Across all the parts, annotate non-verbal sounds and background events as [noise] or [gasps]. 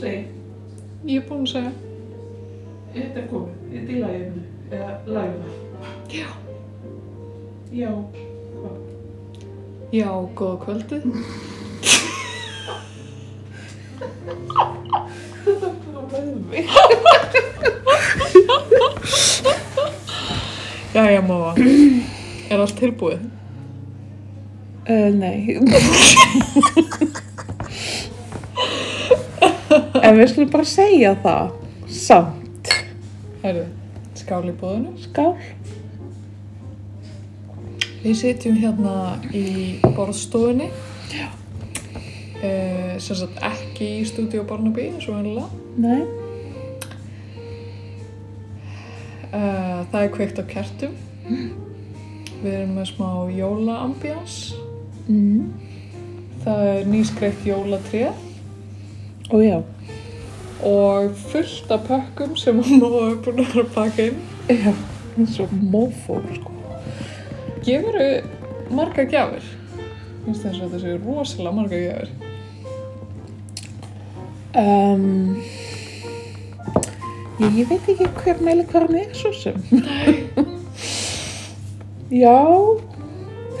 segja, Ég er búin að segja. þetta er komið, þetta er læginu, eða lægina. Já. Já, hvað? Já, góða kvöldið. Þetta er bara með mig. Jæja, máma. Er allt tilbúið? Uh, nei. en við skulum bara segja það. Samt. Herðu, skál í búðinu. Skál. Við sitjum hérna í borðstofunni. Já. sem sagt ekki í stúdíu Barnaby, eins og hennilega. Nei. Uh, það er kveikt á kertum. Við erum með smá jólaambjans. Mm. Það er nýskreitt jólatrið Og já. og fullt af pökkum sem hún og er búin að vera að pakka inn. Já. Eins og mófó, sko. Gefur þau marga gjafir? Finnst þess að þetta séu rosalega marga gjafir? Um, ég, ég veit ekki hver meili hver hann er svo sem. já.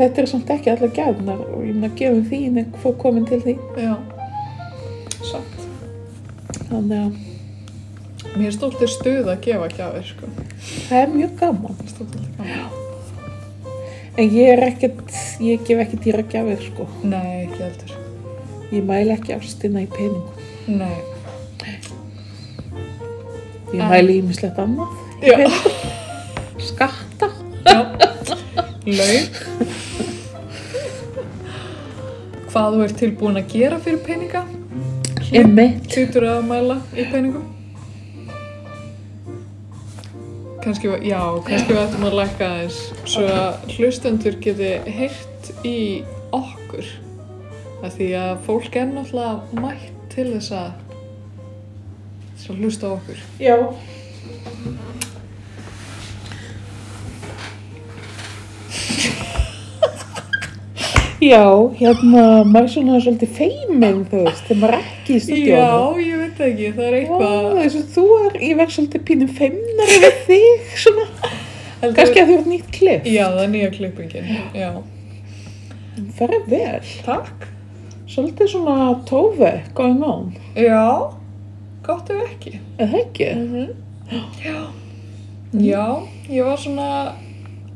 Þetta er samt ekki allar gæðnar og ég meina gefum þín en fór komin til þín. Já. Satt. Þannig að Mér stóltir stuð að gefa gjafir, sko. það er mjög gaman. Mér stóltir þetta gaman. En ég er ekkert, ég gef ekki dýragjafir sko. Nei, ekki heldur. Ég mæli ekki ástina í peningum. Nei. Ég En- mæli ímislegt annað. Ah, Já. Skatta. Já. Laug. Hvað þú ert tilbúin að gera fyrir peninga? Emmi. Hlutur að mæla í peningum? Kannski, var- já, kannski við ættum að lækka aðeins svo að hlustendur geti heyrt í okkur. Af því að fólk er náttúrulega mætt til þess að, þess að hlusta á okkur. Já. Já, hérna, maður er svona svolítið feiminn, þú veist, þegar maður er ekki í Já, stúdíónu. ég veit það ekki, það er Já, eitthvað... þess að þú er, ég verð svolítið pínum feimnari við þig, svona. Heldur- Kannski að þú ert nýtt klipp. Já, það er nýja klippingin, já. Það er vel. Takk. Svolítið svona tófi, going on. Já, gott ef ekki. Er það ekki? Já. Já, ég var svona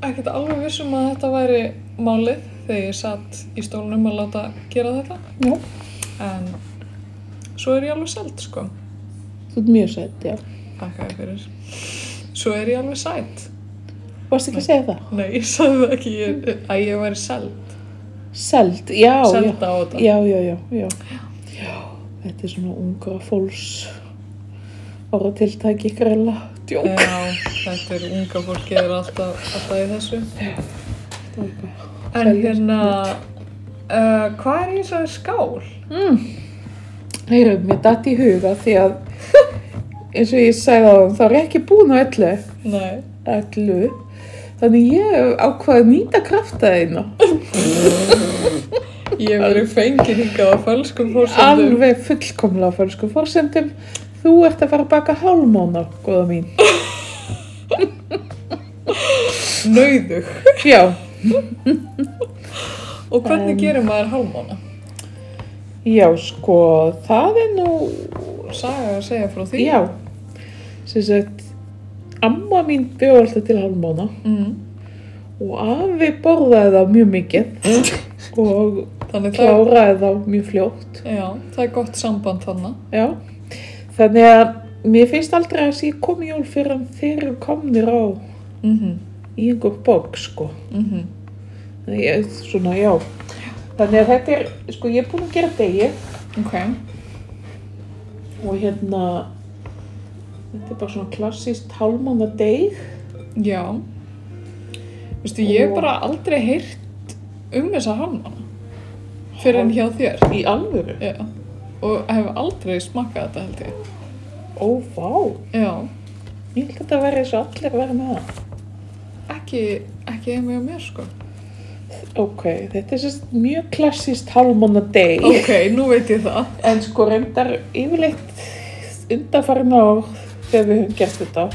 ekkert alveg viss um að þetta væri málið þegar ég satt í stólnum að láta gera þetta. Já. En svo er ég alveg sælt, sko. Þú ert mjög sætt, já. Þakka þér fyrir. Svo er ég alveg sælt. Varst ekki að segja það? Nei, ég sagði það ekki ég, að ég væri sælt. Sælt, já, já. Sælda á þetta. Já, já, já, já. Já, þetta er svona ungra fólks orðatiltæki grella. Djók. Já, þetta er unga fólkið er alltaf, alltaf í þessu. En Hverju? hérna, uh, hvað er eins og skál? Heyru, mér datt í huga því að [laughs] eins og ég sagði á hann, þá er ég ekki búin á öllu. Nei. Öllu. Þannig ég ákvaði að nýta krafta þeirna. Ég hef verið fengið hingað á fölskum fórsöndum. Alveg fullkomlega á fölsku fórsendum. Þú ert að fara að baka hálmóna, góða mín. Nauðug. Já. Og hvernig En- gerir maður hálmána? Já, sko, það er nú, Saga að segja frá því. já, sem sagt, amma mín bjóð alltaf til hálfmána Mm. og afi borðaði þá mjög mikið og Þannig það, kláraði þá mjög fljótt, já, það er gott samband þannig. já. Þannig að mér finnst aldrei að ég kom í jól fyrir hann þeir eru komnir á Mm -hmm. í einhver bók, sko. Mm -hmm. Þannig ég, svona, já. Þannig að þetta er, sko, ég er búin að gera degi Ok. og hérna, þetta er bara svona klassist hálfmána deg. Já. Veistu, ég hef Og- bara aldrei heyrt um þessa hálmána. Fyrir en hjá þér. Í alvöru? Já. Og hef aldrei smakkað þetta held ég. Ó, vá. Já. Ég held að þetta væri eins og allir væri með það. Ekki, ekki heim hjá mér sko. Ok, þetta er sérst mjög klassist hálfmána deg. Ok, nú veit ég það. En sko reyndar yfirleitt undarfarna ár þegar við höfum gert þetta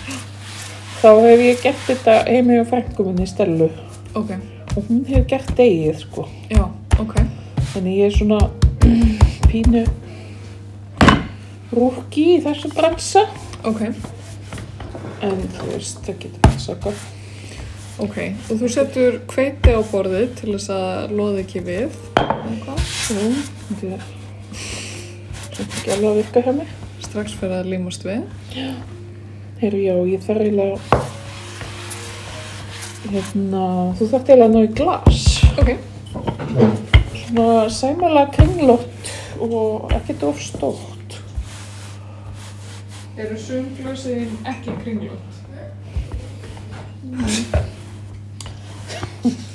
þá hef ég gert þetta heimi á frænku minni Stellu Ok, og hún hefur gert degið sko já, ok. þannig ég er svona [clears throat] pínu rúki í þessum bransa Ok, en þú veist það getur passað gott ok. Og þú setur hveiti á borðið til þess að loði ekki við. Eitthvað. Jú, þetta er þetta er ekki alveg að virka hjá mig Strax fyrir að límast við. Heyrðu, já, ég þarf eiginlega hérna, þú þarft eiginlega að ná í glas Ok, svona sæmalega kringlótt og ekkert of stórt Eru sumglösin ekki kringlót?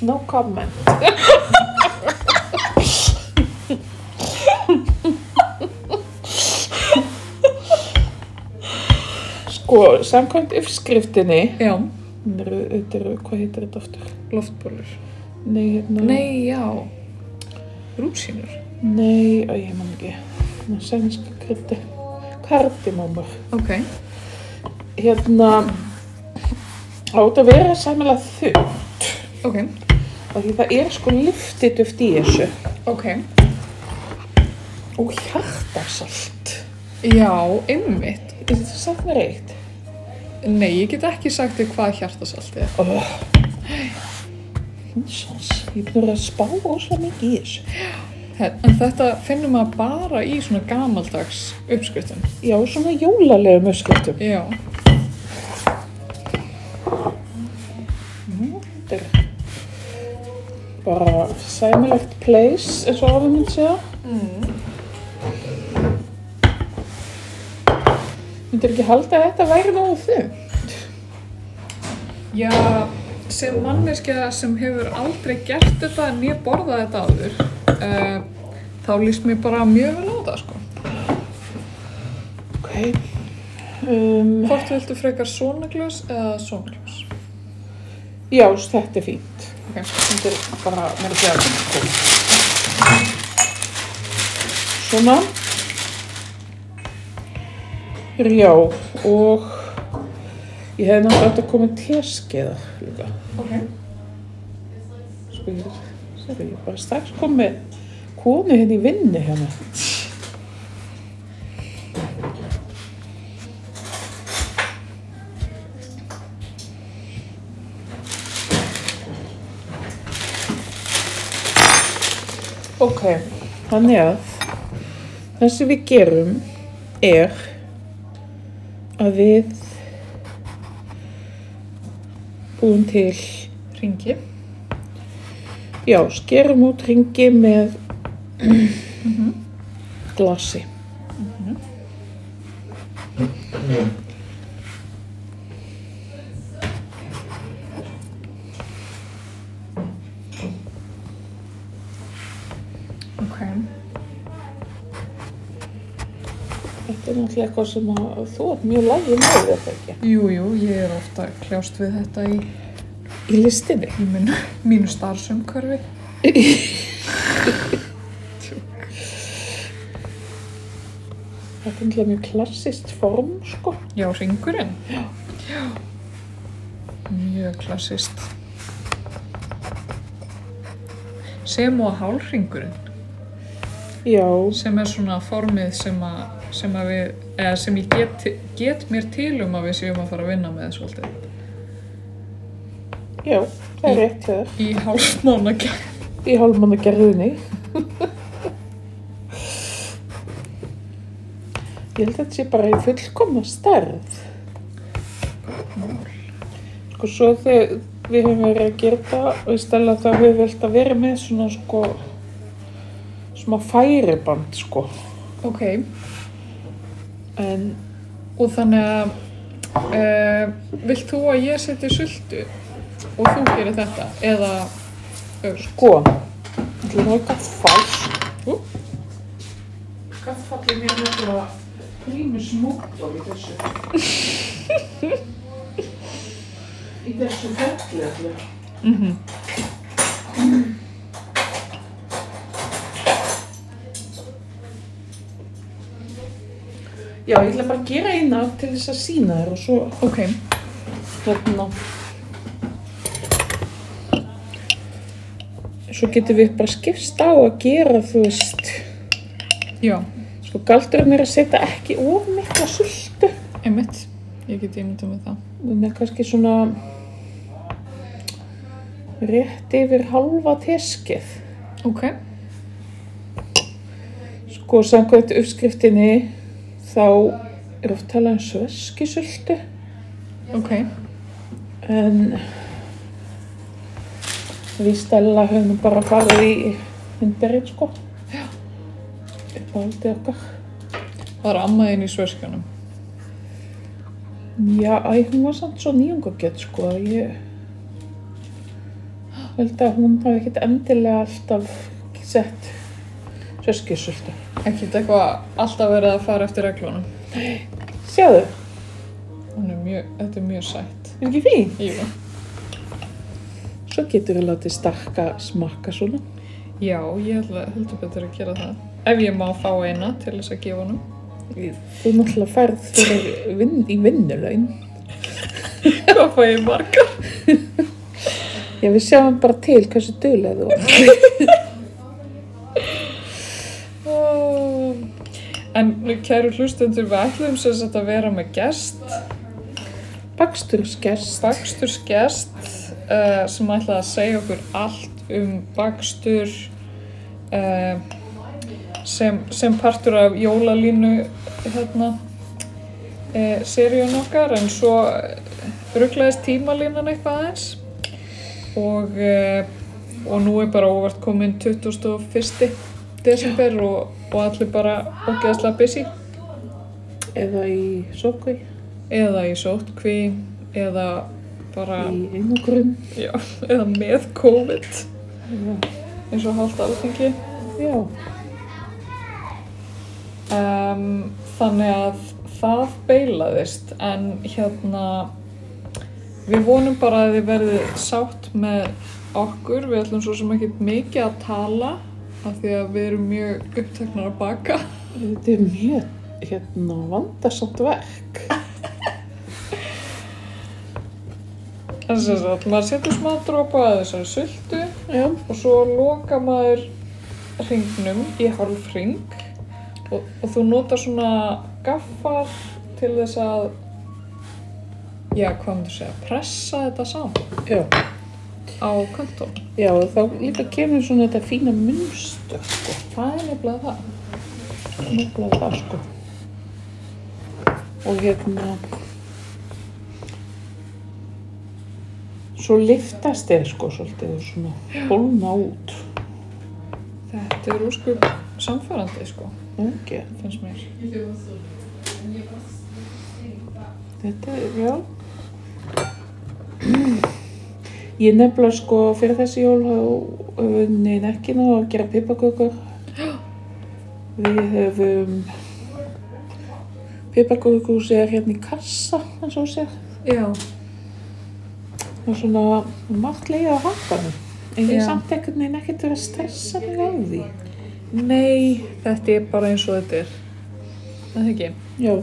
no comment sko, samkvæmt uppskriftinni já, þetta eru, þetta eru, hvað heitir þetta aftur? loftbólur. Nei, hérna Nei, já. Rúsínur. Nei, að ég man ekki. Ná, sænska kryddi. Kardimómur. Ok, Hérna, á þetta að vera sæmilega þau. ok, Því það er sko lyftituft í þessu. ok. Og hjartasalt. Já, einmitt. Er þetta satt mér eitt? Nei, ég get ekki sagt þér hvað hjartasalt er. Oh. Hansans, ég er búin að vera að spá óslega mikið í þessu. Her- En þetta finnum maður bara í svona gamaldags uppskriftum. Já, svona jólalegum öskutum. Já, Þetta er bara sæmilegt place, eins og afi minn segja. Myndir ekki halda að þetta væri nógu þungt? já, sem manneskja sem hefur aldrei gert þetta en ég borða þetta áður, uh, þá líst mér bara mjög vel á þetta, sko. Ok. Um, Hvort viltu frekar svona gljós eða svona gljós? já, þetta er fínt. Ok, Þetta er bara, mér er ekki að sko. Svona. Já, og ég hefði náttúrulega átt að koma teskeiða líka. ok. Sko ég, sko ég bara strax kom með konu henni í vinnu hérna. Ok, þannig að það sem við gerum er að við búum til Ringi. Já, skerum út ringi með [clears throat] glasi. Ok. Þetta er náttúrulega eitthvað sem að þú ert mjög lægið með þetta ekki. Jú, jú, ég er ofta kljást við þetta í, Í listinni. í minn, mínu starfsumkörfi. Þetta er náttúrulega mjög klassist form, sko. Já, ringurinn. Já. Mjög klassist. Sem og hálringurinn, Já, sem er svona formið sem, að, sem, að við, eða, sem ég get, get mér til um að við séum að fara að vinna með svolítið. já, það er rétt hjá þér. Í hálfmána gæð. Í hálfmanna gerðinni. Ég held að þetta sé bara í fullkomna stærð. Sko svo þegar við höfum verið að gera þetta og í stella þá höfum við alltaf verið með svona sko smá færiband sko. Ok, En og þannig að uh, vilt þú að ég setja sultu og þú gerir þetta eða öfugt? sko, þetta er náttúrulega fæst. Kaffallin er nefnilega prími smúkdóð í þessu. í þessu ferli allir. Já, ég ætla bara að gera eina til þess að sína þér og svo Ok, hérna. Svo getum við bara skipst á að gera, þú veist, já, sko galdurinn er að setja ekki of mikla sultu. einmitt. Ég get ímyndað með það. Þannig að kannski svona rétt yfir halva teskið. Ok, Sko, samkvæmt uppskriftinni þá er oft talað um sveskisöldu ok, en við Stella höfum bara farið í hundarinn, sko. Já. Upp á aldrei okkar. var amma þín í svörskjónum. Já, æ, hún var samt svo nýjungagett, sko, að ég held að hún hafi ekkert endilega alltaf sett sveskisöldu. Ekkert eitthvað alltaf verið að fara eftir reglunum. Sjáðu, Hún er mjög, þetta er mjög sætt. er ekki fín? Jú. Svo getur við látið stakka smakka svona. Já, ég ætla heldur betur að gera það. Ef ég má fá eina til þess að gefa honum. [laughs] Þú náttúrulega færð fyrir vinn, í vinnulaun. Hvað fæ ég margar? Já, við sjáum bara til hversu duglega þú er. Oh. En kæru hlustendur, við ætlum sem sagt að vera með gest, Bakstursgerst. bakstursgest uh, sem ætlaði að segja okkur allt um bakstur uh, sem, sem partur af jólalínu hérna uh, seríun okkar en svo rugglaðist tímalínan eitthvað aðeins og, uh, og nú er bara óvart komin 21. desember og, og allir bara ógeðslega busy Eða í sókvi, eða í sótkví eða bara í einogrun. Já, eða með COVID Já. eins og hálft alþingi. Já, Um, þannig að það beilaðist en hérna við vonum bara að þið verðið sátt með okkur. Við ætlum svo sem ekkert mikið að tala af því að við erum mjög uppteknar að baka. þetta er mjög hérna vandarsamt verk. En sem sagt, maður setur smá dropa að þessari sultu Já. og svo loka maður hringnum í hálf hring og, og þú notar svona gaffar til þess að já, hvað myndir segja, pressa þetta saman Já. á köntum Já, og þá líka kemur svona þetta fína munstur, sko. það er nefnilega það Nefnilega það, sko. Og hérna... Svo liftast þeir, sko, svolítið og svona bólna út. þetta er úrskup samfærandi sko, Ekki. finnst mér Þetta, er- já. [clears throat] Ég nefnilega sko fyrir þessi jól þá unni nekkinu að gera [gasps] pipakökur. Við höfum pipakökuhúsið er hérna í kassa, eins og þú sér. já, Og svona margt leiða á hafðanum. En ég Já. samt einhvern veginn ekkert verið að stressa mig á því. nei þetta er bara eins og þetta er það ekki Já.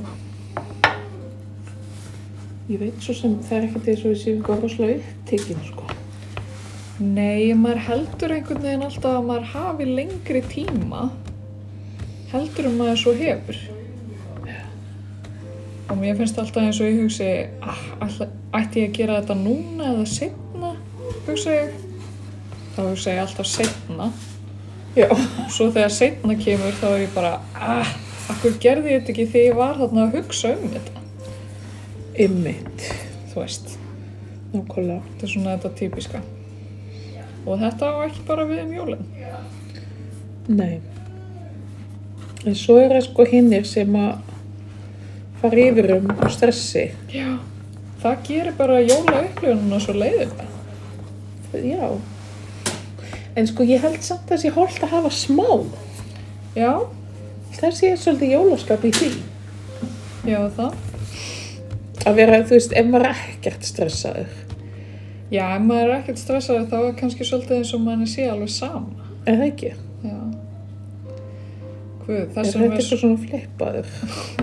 Ég veit svo sem það er ekkert eins og við séum góð rosalega upptekinn sko. Nei, maður heldur einhvern veginn alltaf að maður hafi lengri tíma heldur en maður svo hefur. Og mér finnst alltaf eins og ég hugsi, ah, ætla, ætti ég að gera þetta núna eða setna, hugsa ég. Þá hugsa ég alltaf setna. Já. Svo þegar setna kemur þá er ég bara, ah, akkur gerði ég þetta ekki þegar ég var þarna að hugsa um þetta, Ymmit. þú veist. Nákvæmlega. Þetta er svona þetta típiska. Og þetta á ekki bara við um jólinn. Nei. En svo er það sko hinnir sem að fara yfir um á stressi. Já, það gerir bara jólaupplifununa svo leiðilega. Já. En sko ég held samt að það sé holdt að hafa smá. Já, Það sé svolítið jólaskap í því. já það. Að vera, þú veist, ef maður er ekkert stressaður. Já, ef maður er ekkert stressaður þá er kannski svolítið eins og manni sé alveg sama. Er það ekki? Já. Guð, það Er sem þetta er, eitthvað svona flippaður?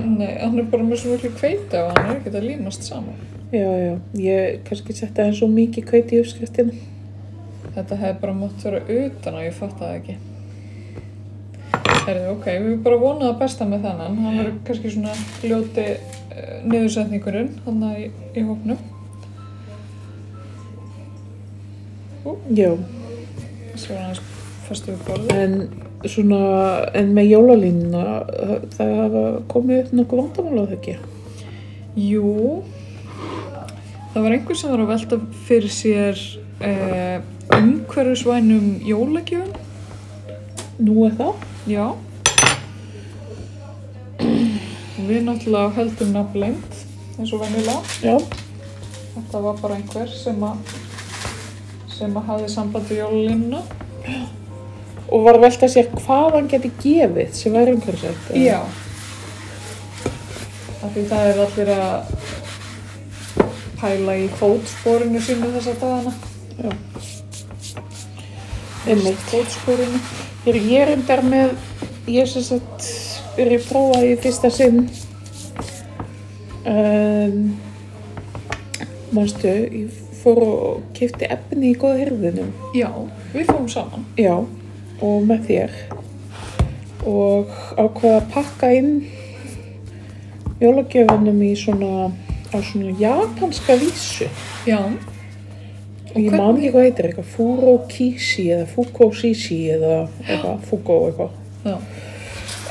nei, hann er bara með svo miklu kveita og hann er ekkert að límast saman. Já, já, ég kannski setja eins og mikið kveiti í uppskriftinu. Þetta hefði bara mátt vera utan og ég fatt það ekki. Herðu, ok, við bara vonaðum að besta með þennan. Hann verður kannski svona ljóti uh, niðursetningurinn, hann í, í hópnum. Já, Svo er hann aðeins fastu við borðið. en svona, en með jólalínuna, það- það hafa komið upp nokkuð vandamál á það ekki. Jú, það var einhver sem var að velta fyrir sér eh, umhverfisvænum jólagjöfum, Nú er það? já. Og við náttúrulega heldum nafn lengt, eins og venjulega. Já, Þetta var bara einhver sem að sem að hafði samband við jólalínuna. og var að velta sér hvað hann geti gefið sem væri umhverfisætt. eða? Já. Af því það er allir að pæla í fótsporinu sínu þessa dagana. Já. Einmitt. Fótsporinu. Ég er- ég er undar með, ég er sem sagt, er ég prófaði í fyrsta sinn. Um, Manstu, ég fór og kefti efni í góða hirðinum. Já, við fórum saman. Já, og með þér og ákvaða að pakka inn jólagjöfunum í svona á svona japanska vísu Já, og ég man ekki hvað heitir eitthvað Furo Kishi eða Fuko Shishi eða eitthvað, Fuko eitthvað já.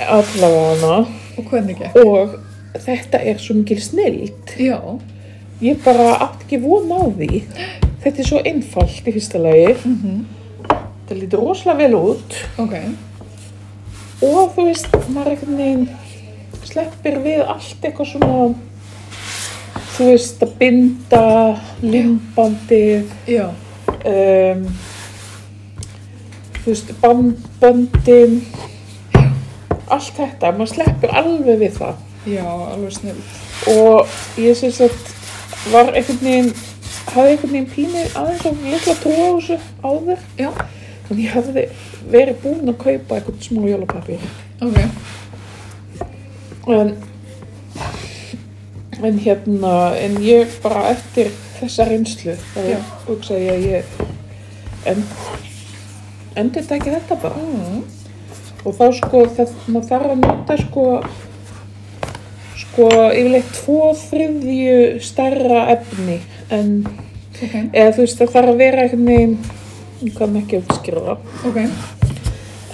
allavega hana Og hvernig gekk? og þetta er svo mikil snild Já, ég bara átt ekki von á því þetta er svo einfalt í fyrsta lagi þetta lítur rosalega vel út ok. og þú veist, maður einhvern veginn sleppir við allt eitthvað svona þú veist, að binda limbandið Já, um, þú veist, bamböndin allt þetta, maður sleppir alveg við það já, alveg snill. og ég sem sagt var einhvern veginn hafði einhvern veginn pínu aðeins og litla trú á þessu áður Já. þannig ég hafði verið búin að kaupa einhvern smá jólapapir Ok, en, en hérna en ég bara eftir þessa reynslu þá Já. hugsaði ég að ég en, endur þetta ekki þetta bara mm. og þá sko það, maður þarf að nota sko sko yfirleitt tvo þriðju stærra efni en ok, eða þú veist það þarf að vera einhvern veginn ég kann ekki að skýra það ok,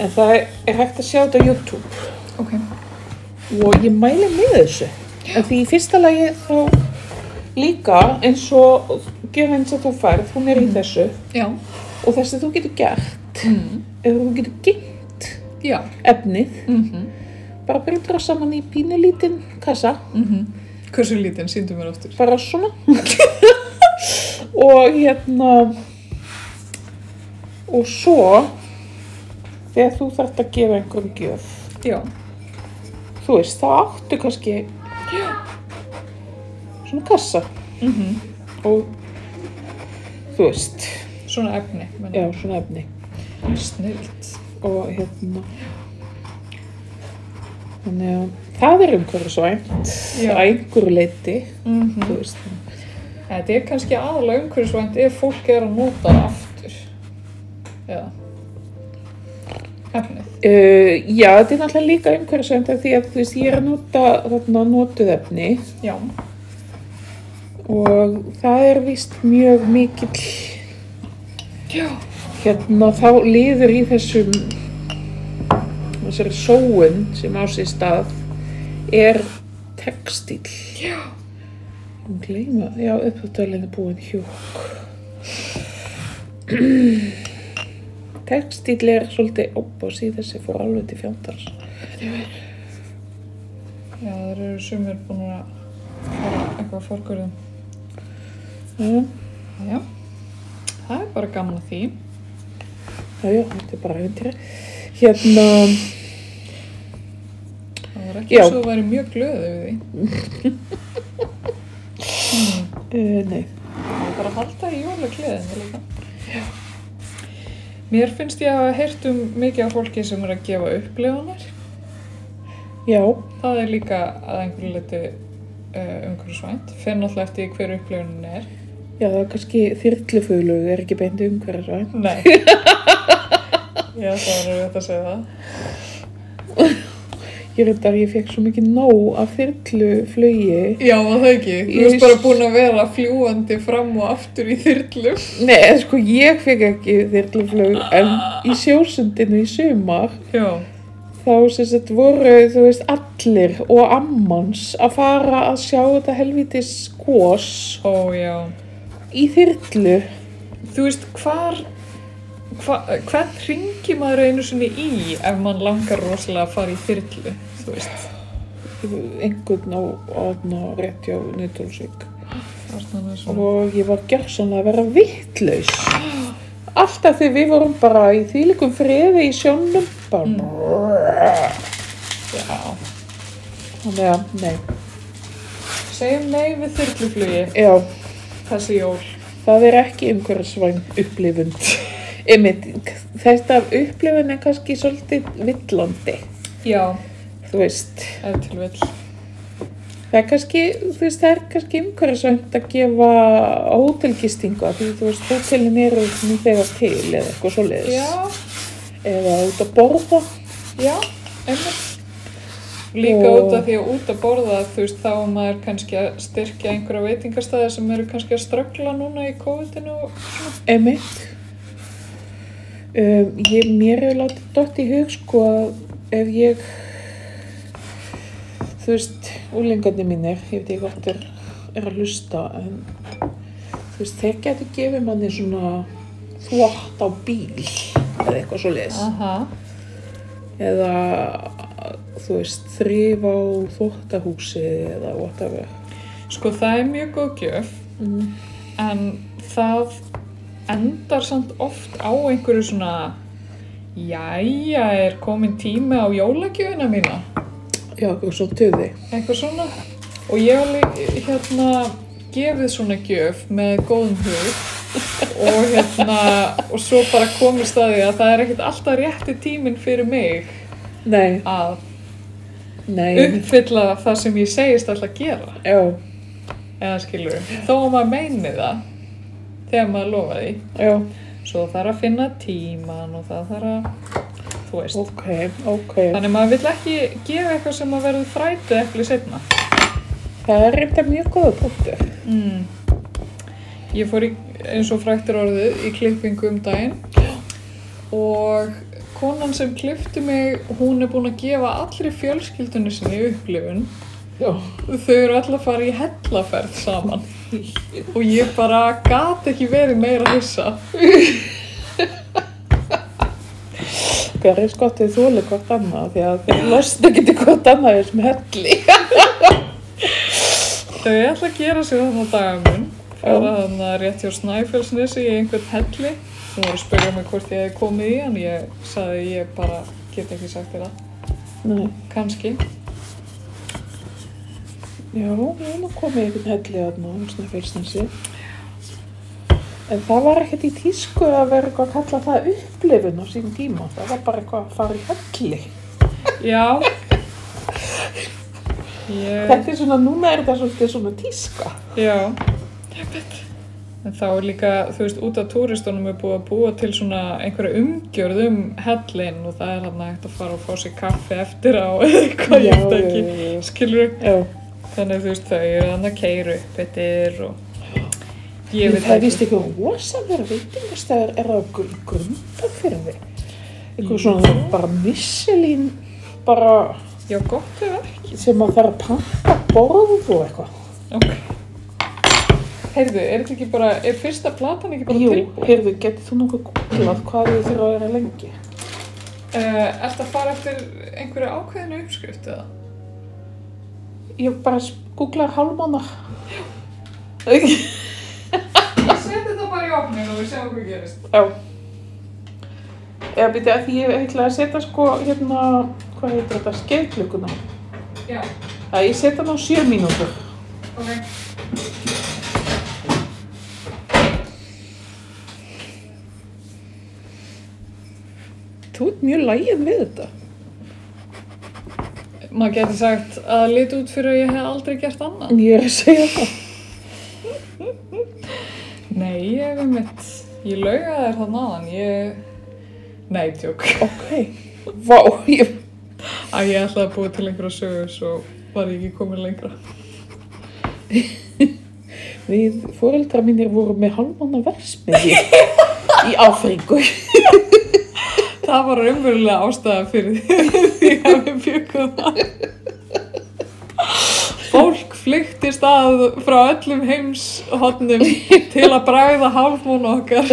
en það er hægt að sjá þetta á YouTube ok. og ég mæli með þessu en því í fyrsta lagi þá líka eins og gera eins og þú færð, hún Mm. er í þessu Já, og þessi þú getur gert mm. eða þú getur geimt já, efnið mhm, bara byrjum saman í pínulítinn kassa mhm. Hversu lítinn, síndu mér aftur. bara svona [laughs] og hérna og svo þegar þú þarft að gefa einhverjum gjöf Já, þú veist, þá áttu kannski svona kassa mhm. og þú veist Svona efni, menn. já, svona efni Snillt. og hérna þannig að það er umhverfisvænt Já. að einhverju leiti Mhm. þú veist, Þetta er kannski aðalega umhverfisvænt ef fólk er að nota það aftur. Já. Efnið. Uh, já, þetta er náttúrulega líka umhverfisvænt af því að þú veist, ég er að nota þarna notuð efni Já, og það er vist mjög mikill, já, hérna þá líður í þessum, þessari sóun sem á sér stað er textíl. Já. Hún gleyma, já, uppáttalinn er búin hjúk. textíl er svolítið upp á síðan sem fór alveg til fjöndars. já, þeir eru sumir búin að fara eitthvað fórgurðum. Já. Já, það er bara gaman að því. Já, já, þetta er bara æfintýri. Hérna, Það var ekki Já. eins og þú væri mjög glöðu við því. uh, nei. Það er bara að halda í jólagleðinu líka. Mér finnst ég að hafa heyrt um mikið af fólki sem er að gefa upplefanir já, Það er líka að einhverju liti uh, umhverfisvænt, fyrir náttúrulega eftir því hver upplifunin er. já, það er kannski þyrlufuglaug, er ekki beint umhverfisvæn. [laughs] Nei. Já, það er auðvitað að segja það. Ég reyndar, ég fekk svo mikið nóg af þyrluflugi. Já, var það ekki. Þú Ég veist bara s- búin að vera fljúandi fram og aftur í þyrlum. Nei, eða sko, ég fekk ekki þyrluflug, en í sjósundinu í sumar, Já. þá sem sagt voru, þú veist, allir og ammans að fara að sjá þetta helvitis gos Ó, já. í þyrlu. Þú veist, hvar, hva, hvern ringi maður einu sinni í ef mann langar rosalega að fara í þyrlu, þú veist. einhvern á, á rétt hjá Nýtólsvík Arnar er svona. og ég var gerðsann að vera vittlaus alltaf þegar við vorum bara í þýlikum friði í sjónum bara Já. þannig að, nei, Segjum nei við þyrluflugi já þessi jól. það er ekki umhverfisvæn upplifun einmitt, þetta upplifun er kannski svolítið villandi Já, þú veist, ef til vill. það er kannski þú veist, það er kannski umhverfisvænt að gefa hótelgistingu af því þú veist, hótelin eru nú þegar til eða eitthvað svoleiðis Já, eða út að borða já, einmitt. Líka Og- út af því að út að borða, þú veist, þá er maður kannski að styrkja einhverja veitingastæði sem eru kannski að ströggla núna í COVID-inu. og- emitt um, ég, mér hefur látið dott í hug sko að ef ég þú veist úlingarnir mínir, ég veit ekki hvort er, er að hlusta en þú veist, þeir getur gefið manni svona þvott á bíl eða eitthvað svo leis Aha, eða þú veist, þrif á þvóttahúsi eða whatever sko það er mjög góð gjöf, mm. en það endar samt oft á einhverju svona, jæja, er komin tími á jólagjöfina mína. já, og svo töði eitthvað svona og ég var lí- hérna gefið svona gjöf með góðum hug og hérna og svo bara komist að því að það er ekkert alltaf rétti tíminn fyrir mig nei, að nei, uppfylla það sem ég segist alltaf að gera já, eða skilur, þó að maður meini það þegar maður lofa því já svo þarf að finna tíman og það þarf að þú veist, Ok, ok. þannig maður vill ekki gefa eitthvað sem að verður þrætu eftir setna Það er reynda mjög góða punktur. Mm. Ég fór í, eins og fræktir orðið í klippingu um daginn og konan sem klippti mig, hún er búin að gefa allri fjölskyldunni sinni upplifun. Já. Þau eru alltaf að fara í hellaferð saman og ég bara gat ekki verið meira hissa. Það er skottið þóli hvort annað því að þeir losna ekki til hvort annað í þessum helli. Þau ætla að gera sér þannig á dagaminn, fara þannig að rétt hjá Snæfellsnesi í einhvern helli. Hún var að spyrja mig hvort ég hefði komið í hann, ég sagði ég bara get ekki sagt þér það. Nei. Kanski. Já, við erum að koma í einhvern helli þarna um Snæfellsnesi. En það var ekkert í tísku að vera eitthvað að kalla það upplifun á sínum tíma. Það var bara eitthvað að fara í helli. Eh. Já ég, Þetta er svona, núna er þetta svolítið svona tíska. Já En þá er líka, þú veist, út af túristunum er búið að búa til svona einhverja umgjörð um hellin og það er hann hægt að fara og fá sér kaffi eftir á eða eitthvað, ég veit ekki já, skilur, já. Já. þannig að þú veist, þau eru hann að keiru upp eittir og ég veit það er víst ekki eitthvað rosalega veitingastæður er á grunda fyrir því. Eitthvað svona bara misselín bara Já, gott hefur ekki sem að þarf að panta borð og eitthvað. Ok Heyrðu, er þetta ekki bara, er fyrsta platan ekki bara Jú, tilbúin? heyrðu, getur þú nokkuð googlað hvað þau þurfa að vera lengi? Uh, Ertu að fara eftir einhverju ákveðinu uppskrift eða? Ég bara googlaði hálfmána. Ég seti þetta bara í opnin og við sjáum hvað gerist. Já. Eða byrja að því ég ætla að setja sko hérna, hvað heitir þetta, skeiðklukuna. Já, Það ég setja hann á sjö mínútur. ok. Þú ert mjög lægin við þetta. maður geti sagt að liti út fyrir að ég hef aldrei gert annað. Ég er að segja það. Nei, ég hef einmitt, ég lauga þér þann aðan, ég, nei, tjók. Ok. Vá, ég... Að ég ætlaði að búa til einhverja sögur svo var ég ekki komin lengra. Við fóreldra mínir voru með halvmanna versmiði í Afríku. Það var raunverulega ástæða fyrir því að við byggum það. Fólk flyktist að frá öllum heimshotnum til að bræða hálfmónu okkar.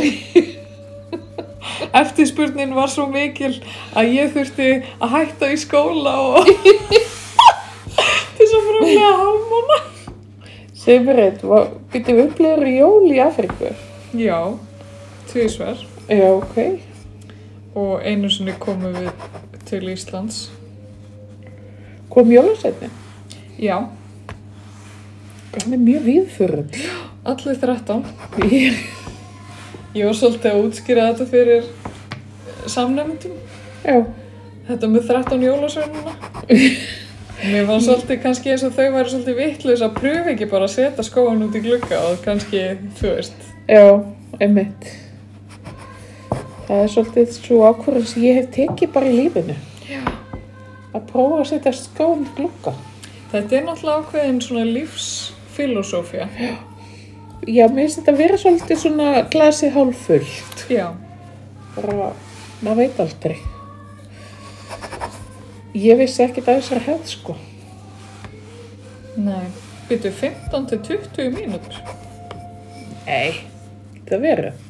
Eftirspurnin var svo mikil að ég þurfti að hætta í skóla og til þess að framlega hálfmóna. Sigurrið, getur við upplegur jól í Afríku? Já, tvísver. Já, ok. Og einu sinni komum við til Íslands. Kom jólasetni? Já, Hann er mjög viðförund. allir 13. Ég Ég var svolítið að útskýra þetta fyrir samnefndum. Já, Þetta með 13 jólasveinuna. [laughs] Mér var svolítið kannski eins og þau væri svolítið vittlaus að pröfa ekki bara að setja skóan út í glugga og kannski, þú veist. já, einmitt. Það er svolítið svo ákvörðum sem ég hef tekið bara í lífinu. Já. Að prófa að setja skóum til glugga. Þetta er náttúrulega ákveðin svona lífsfilosófía. Já, mér finnst þetta að vera svolítið svona glasið hálffullt. Já. Bara, maður veit aldrei. Ég vissi ekkert að þessar hefð, sko. Nei. Byttu 15 til 20 mínútur. Nei. Það verið.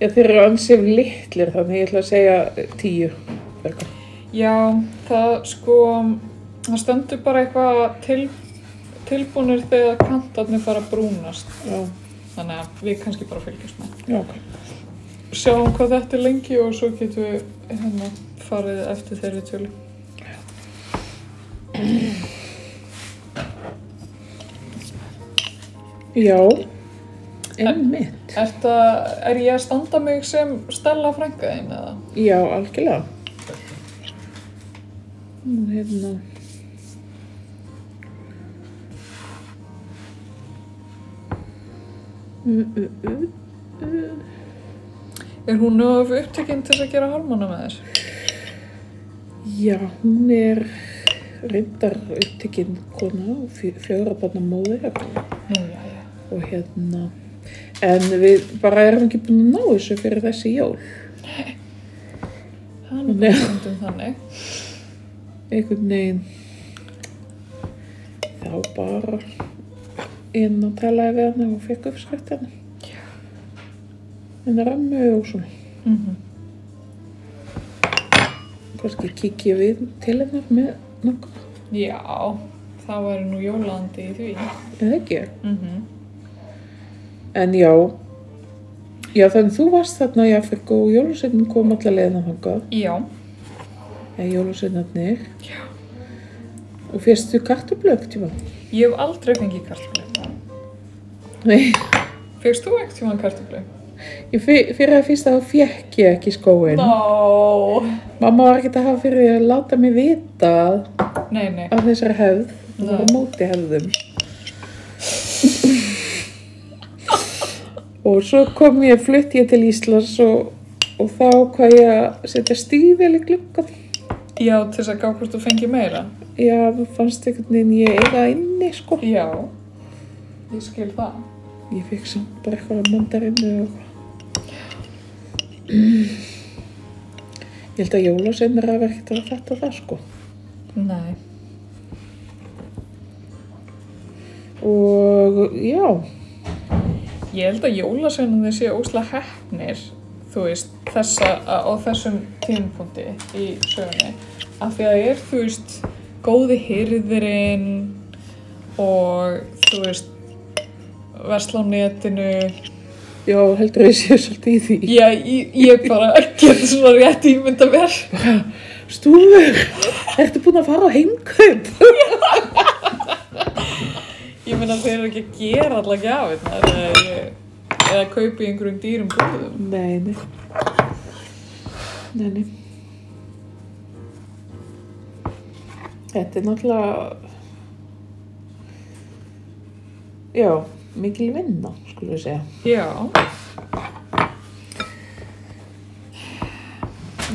Já, þeir eru ansið litlir þannig ég ætla að segja tíu. Bergur. Já, það sko, það stendur bara eitthvað til, tilbúnir þegar kantarnir fara að brúnast. Já, Þannig að við kannski bara fylgjumst með. já, ok. Sjáum hvað þetta er lengi og svo getum við hérna farið eftir þeirri tölu. Já, einmitt. Er, það, er ég að standa mig sem Stella frænka þín eða? Já, algjörlega. Nú, Hérna. Mm, mm, mm. Er hún of upptekinn til þess að gera harmona með þér? Já, hún er reyndar upptekinn kona og fjögurabanna móðir hérna. Nú, já, já. og hérna en við bara erum ekki búin að ná þessu fyrir þessi jól Hann Nei. er bara stundum þannig. einhvern veginn þá bara inn og talaði við hann og fekk uppskrift hann en rammu og svona Mm kannski kikið við til hennar með nokkuð, Já, það væri nú jólandi í því. eða ekki Mm en já já þannig þú varst þarna í Afriku og jólusveitin kom allar leiðin að hanga Já, eða jólusveitarnir og fyrstu kartublökt tíma ég hef aldrei fengið kartöflu. nei, Fegst þú ekkert tíma kartöflu? ég fyr, fyrir að fyrsta þá fekk ég ekki skóin Nó. Mamma var ekkert að hafa fyrir því að láta mig vita Nei, nei. af þessari hefð. Hún var á Nei. móti hefðum. og svo kom ég, flutt ég til Íslands og, og þá hvað ég að setja stífvel í gluggan. Já, til þess að gá hvort þú fengið meira. Já, mér fannst einhvern veginn ég eiga inni, sko. Já, ég skil það. Ég fekk samt bara eitthvað að mandarinu og eitthvað. Ég held að jólaseinar hafa ekkert að þetta það, sko. Nei. Og já, Ég held að jólasveinunni sé óslega hefnir, þú veist, þessa, á þessum tímapunkti í sögunni. Af því að það er, þú veist, góði hyrðirinn og, þú veist, versla á netinu. já, heldur að ég sé svolítið í því. Já, ég, ég bara get svona rétt ímynda mér. Stúfur, ertu búin að fara á heimkaup? Ég meina þeir eru ekki að gera allar gjafirnar eða, ég- eða kaupi í einhverjum dýrum búðum. Nei, nei. Nei, nei. Þetta er náttúrulega, já, mikil vinna, skulum við segja. Já.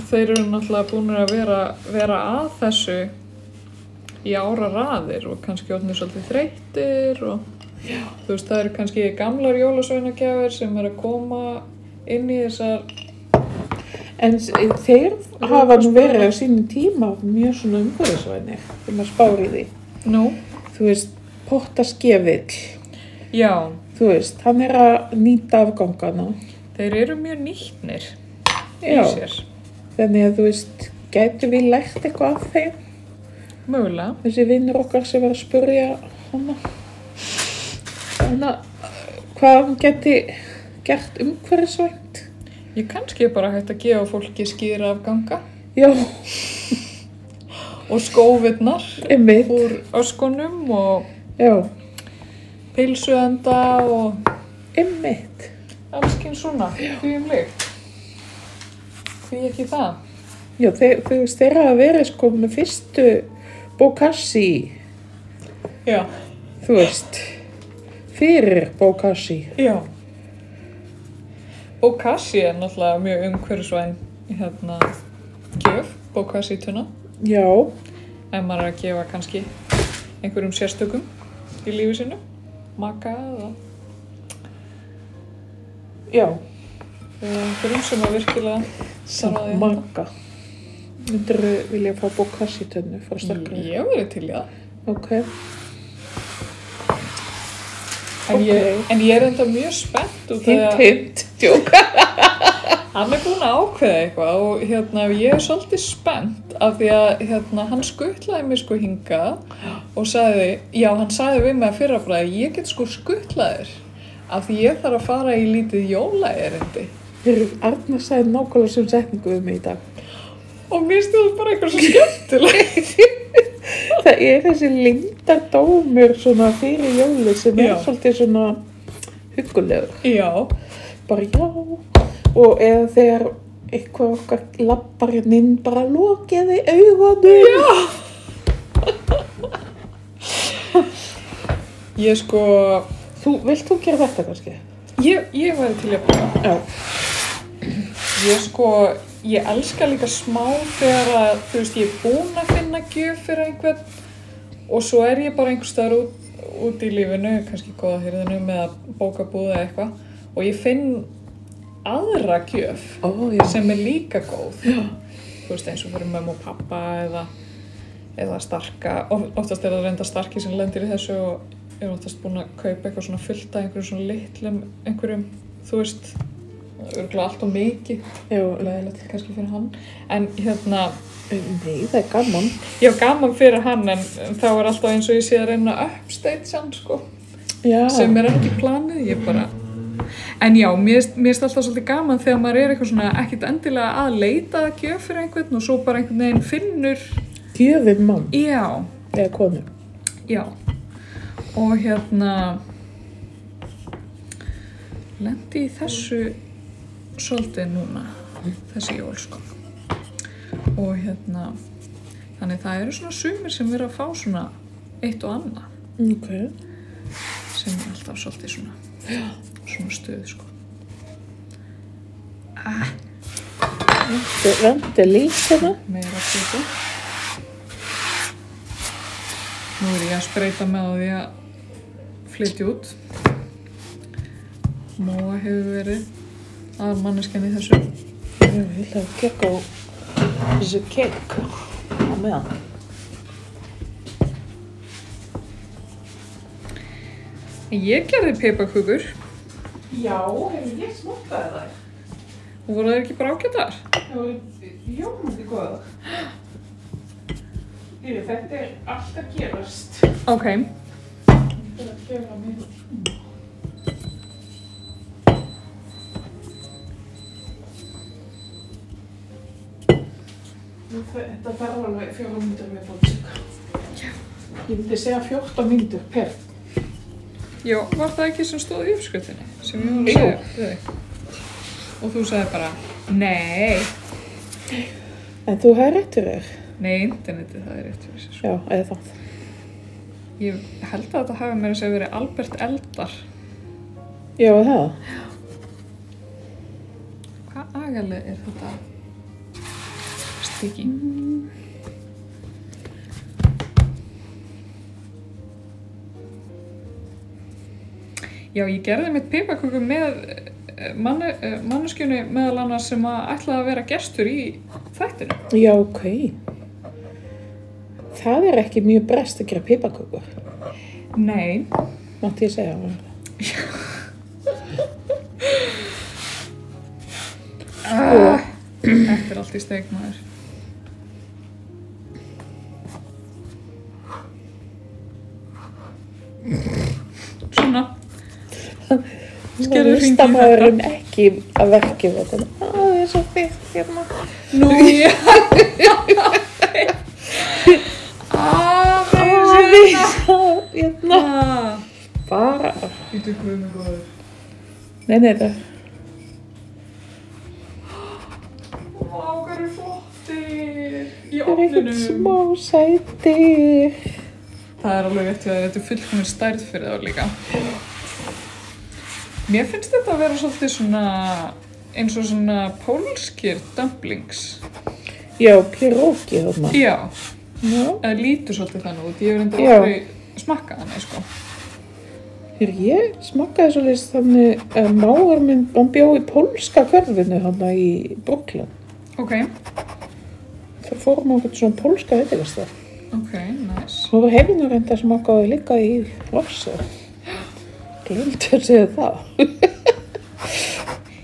Þeir eru náttúrulega búin að vera, vera að þessu í ára raðir og kannski orðinu svolítið þreyttir og þú veist það eru kannski gamlar jólasveinagjafir sem er að koma inn í þessar En s- þeir hafa nú verið á sínum tíma mjög svona umhverfisvænir, þegar maður spáir í því. Nú? Þú veist, pottaskjefill, Já, þú veist, hann er að nýta afgangana. þeir eru mjög nýttnir í Já, sér þannig að þú veist, gætu við lært eitthvað af þeim? Mögulega þessi vinnur okkar sem var að spurja hana hana hvað hann geti gert umhverfisvænt Ég kannski er bara hægt að gefa fólki skýra af ganga já, og skófinnar einmitt úr öskunum og já, pilsuenda og einmitt Allskinn svona, því um lykt. Því ekki það. já, þeir, þú veist, þeir hafa verið sko með fyrstu bókassi Já. þú veist fyrir bókassi Já. Bókassi er náttúrulega mjög umhverfisvæn hérna gjöf, bókassítuna. já, Ef maður er að gefa kannski einhverjum sérstökum í lífi sinu. Maka eða já, eða einhverjum sem er virkilega þarf að samt manga myndir vilja fá bókassi tönnu frá Ég staklega hef verið til í það. ok, Ok. En, ég, en ég er enda mjög spennt út af því hint, að hint, djóka Hann er búinn að ákveða eitthvað og hérna, ég er svolítið spennt af því að hérna, hann skuttlaði mig sko hingað og sagði, já hann sagði við mig að fyrrafræði, ég get sko skuttlaðir af því ég þarf að fara í lítið jólaerindi Heyrðu, Arna sagði nákvæmlega sem setningu við mig í dag. og mér stilði bara eitthvað svo skemmtileg. Það er þessi lindardómur svona fyrir jóli sem er Já. svolítið svona hugulegur. [laughs] já, Bara já. Og eða þegar eitthvað okkar lappar hérna inn bara lokiði augunum. Já. ég sko, Þú, vilt þú gera þetta kannski? ég, ég væri til í að byrja. Já. Ég sko, ég elska líka smá þegar að, þú veist, ég er búin að finna gjöf fyrir einhvern og svo er ég bara einhvers staðar út, út í lífinu, kannski í góða hyrðinum eða bókabúð eða eitthvað og ég finn aðra gjöf Ó, já. sem er líka góð. Já. Þú veist, eins og fyrir mömmu og pappa eða, eða starka, of- oftast er það reynda starki sem lendir í þessu og er oftast búin að kaupa eitthvað svona fullt af einhverjum svona litlum, einhverjum, þú veist, örgulega allt og mikið Já, leðilegt kannski fyrir hann en hérna, nei, það er gaman. ég hef gaman fyrir hann en þá er alltaf eins og ég sé að reyna að upstage hann sko, Já. sem er ekki planið ég bara en já, mér finnst- mér finnst alltaf svolítið gaman þegar maður er eitthvað svona ekkit endilega að leita að gjöf fyrir einhvern og svo bara einhvern veginn finnur Gjöfum mann já, eða konu. já og hérna lendi í þessu svolítið núna þessi jól sko og hérna þannig það eru svona sumir sem vera að fá svona eitt og annað Ok. sem er alltaf svolítið svona svona stuð sko Þú rendi líkana. meira kjötu nú er ég að spreita með á því að flytja út Móa hefur verið að manneskjan í þessu Já, ég ætla að kekka á þessu kekk á meðan. ég gerði peipakökur Já, hefur ég smottaði það? og voru það ekki bara ágættar Það voru ljómandi góða. Heyrðu, þetta er allt að gerast. ok, Þetta er að gera mér. Nú þe- Þetta þarf alveg fjóra myndir við bóðsöka. Ég myndi segja 14 mínútur per. Já, var það ekki sem stóð í uppskriftinni sem ég var að Jú. segja við þig? Og þú sagði bara, nei, En þú hefði réttur þér. nei, internetið, það er rétt fyrir sér. Sko. Já, eða það. Ég held að þetta hafi meira að segja verið Albert Eldar. Já, eða það. Hvað agaleg er þetta? Stiggi. Já, ég gerði mitt pipaköku með eh, manne, manneskjunni meðal annars sem að ætlaði að vera gestur í þættinu. Já, ok. Það er ekki mjög brest að gera pipakökur. Nei, Mátti ég segja það. ah. þetta er allt í steik maður. Svona. Skerðu hringinn í Listamaðurinn ekki að verki við þetta. Á, það er svo fyrst hérna. Nú, já. Á, Aðeins það er svo hérna. hérna. Bara. Ítu guð með góður. Nei, nei, það. Vá, hvað eru flottir. Í Það er ekkert ofninum. smá sætir. Það er alveg eftir að þetta er fullkominn stærð fyrir þá líka. Mér finnst þetta að vera svolítið svona eins og svona pólskir dumplings. Já, piróki þarna. Já, Já. það lítur svolítið þannig út. Ég hef reyndar Já. aldrei smakkað þannig, sko. Hér ég smakkaði svo list þannig að mágur minn, hann bjó í pólska hverfinu hann í Brooklyn. Ok, Það fórum á einhvern svona pólska veitingastað. ok, nice. Svo var hefinu reynda smakkaði líka í Lofsö. Glemt að segja það.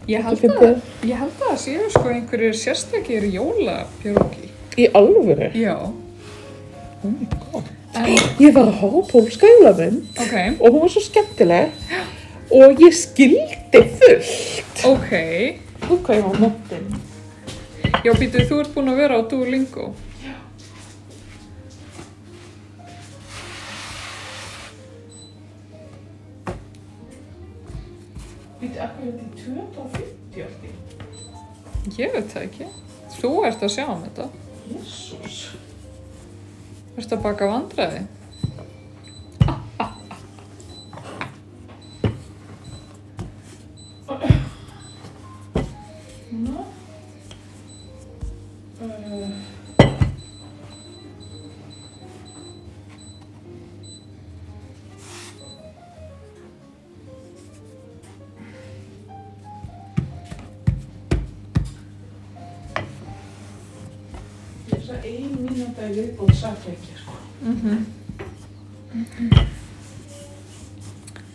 Ég held Þetta að, er- ég held að það séu sko einhverjir sérstakir jólapjóki. Í alvöru. Já, Oh my god. en Ég var að horfa á pólska jólamynd ok, og hún var svo skemmtileg og ég skildi fullt. ok. Þú hvað ég var móttin. Já, býtu, þú ert búin að vera á Duolingo. Við akkurat í 250 átti. Ég veit það ekki. Þú ert að sjá um þetta. Jésús. Ert að baka vandræði. Nú. Uh, ég er svo ein mínúta í viðbóð sakleiki, sko.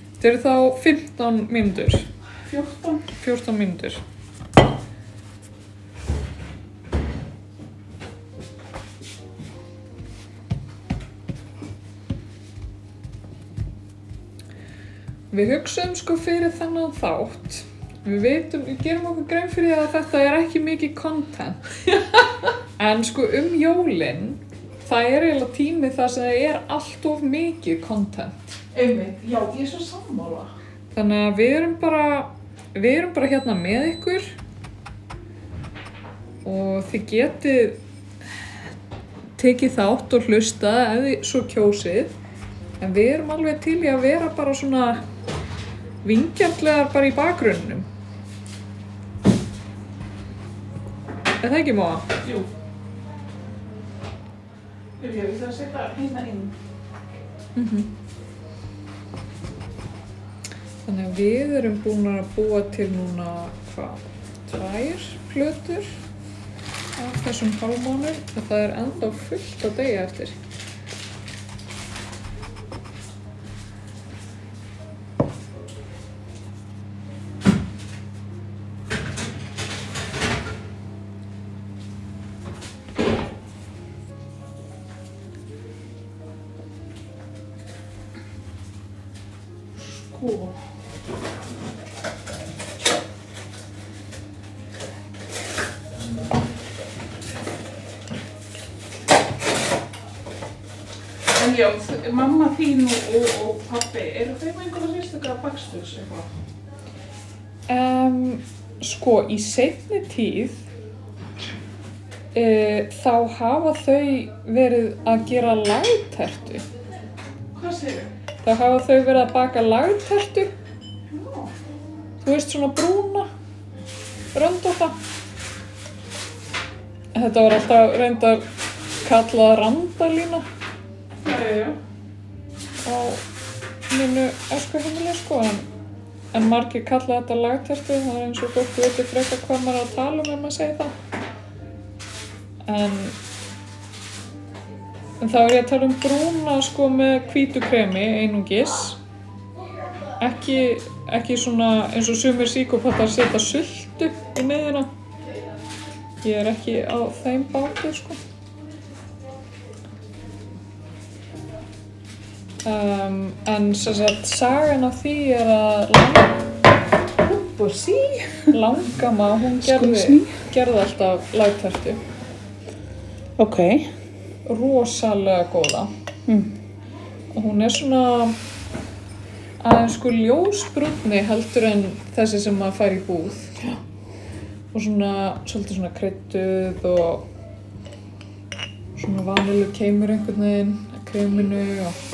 Þetta eru þá 15 mínútur. 14. 14 mínútur. Við hugsaum sko fyrir þennan þátt. Við veitum, við gerum okkur grein fyrir því að þetta er ekki mikið content. En sko um jólinn, það er eiginlega tími þar sem það er allt of mikið content. Einmitt, já, ég er svo sammála. Þannig að við erum bara, við erum bara hérna með ykkur og þið getið tekið þátt og hlusta ef þið svo kjósið en við erum alveg til í að vera bara svona vingjarlegar bara í bakgrunnum. Er það ekki móa? Jú. Jú, ég vil það setja hérna inn. Þannig að við erum búin að búa til núna hvað, tvær plötur af þessum hálfmánum og það er enda fullt að degja eftir. Sko. en já, þ- mamma þín og, og, og pabbi, eru þeim einhverja sérstaklega bakstöks eitthvað? Um, sko, í seinni tíð e, þá hafa þau verið að gera lagtertu. Hvað segir Þá hafa þau verið að baka lagtertu, Já, þú veist svona brúna, röndóta. Þetta var alltaf reyndar kallað randalína já, já, já. á mínu öskuheimili sko en, en margir kalla þetta lagtertu það er eins og fólk veitir frekar hvað maður á að tala um ef maður segir það en en þá er ég að tala um brúna sko með hvítu kremi einungis ekki, ekki svona eins og sumir síkopattar setja sultu í miðina ég er ekki á þeim báti sko Um, en sem sagt, sagan af því er að lang, Búr sí. langama, hún Excuse gerði, me? gerði alltaf lagtertu, Ok. rosalega góða. Mm. Og hún er svona aðeins sko ljósbrunni heldur en þessi sem maður fær í búð. Já. Og svona, svolítið svona krydduð og svona vanilu keimur einhvern veginn, að kreminu og...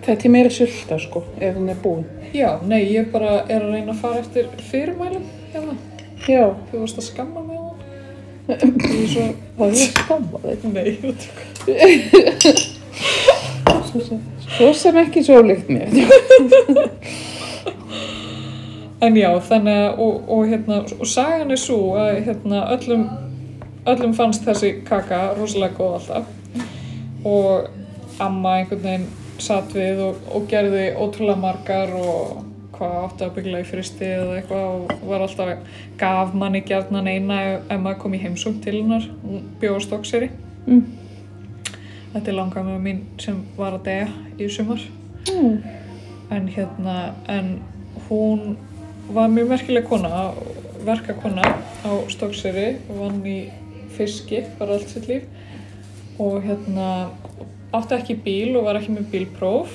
Þetta er meira sulta sko, ef hún er búin. Já, nei, ég bara er að reyna að fara eftir fyrirmælum hérna. Já. Þú varst að skamma mig á hann. Ég er svo, Það er skammaðið. nei, ég veit Svo sem ekki svo líkt mér. En já, þannig að, og, og hérna, og sagan er svo að hérna, öllum, öllum fannst þessi kaka rosalega góð alltaf og amma einhvern veginn satt við og, og gerði ótrúlega margar og hvað átti að byggla í fristi eða eitthvað og var alltaf gaf manni gjarnan eina ef ef maður kom í heimsum til hennar, hún bjóð á stokkseri. Mm. Þetta er langamöðu mín sem var að deyja í sumar. Mm. en hérna en hún var mjög merkileg kona verkakona á Stokkseri vann í fiski bara allt sitt líf og hérna átti ekki bíl og var ekki með bílpróf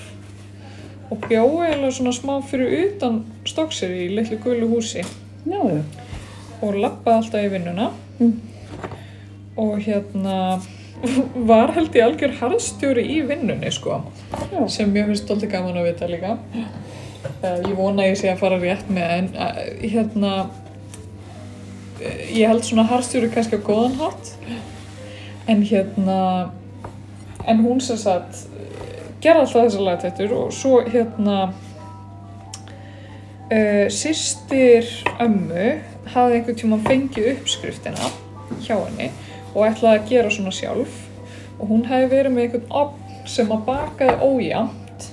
og bjóði eiginlega svona smá fyrir utan Stokkseri í litlu gulu húsi Já, já. og lappaði alltaf í vinnuna Mm. og hérna [laughs] var held ég algjör harðstjóri í vinnunni sko Já. sem mér finnst stolti gaman að vita líka uh, ég vona að ég sé að fara rétt með en uh, hérna eh, ég held svona harðstjóri kannski á góðan hátt en hérna en hún sem sagt eh, gerði alltaf þessar lagtættur og svo hérna uh, sýstir ömmu hafði einhvern tíma fengið uppskriftina hjá henni og ætlaði að gera svona sjálf og hún hefði verið með einhvern opn sem að bakaði ójæmt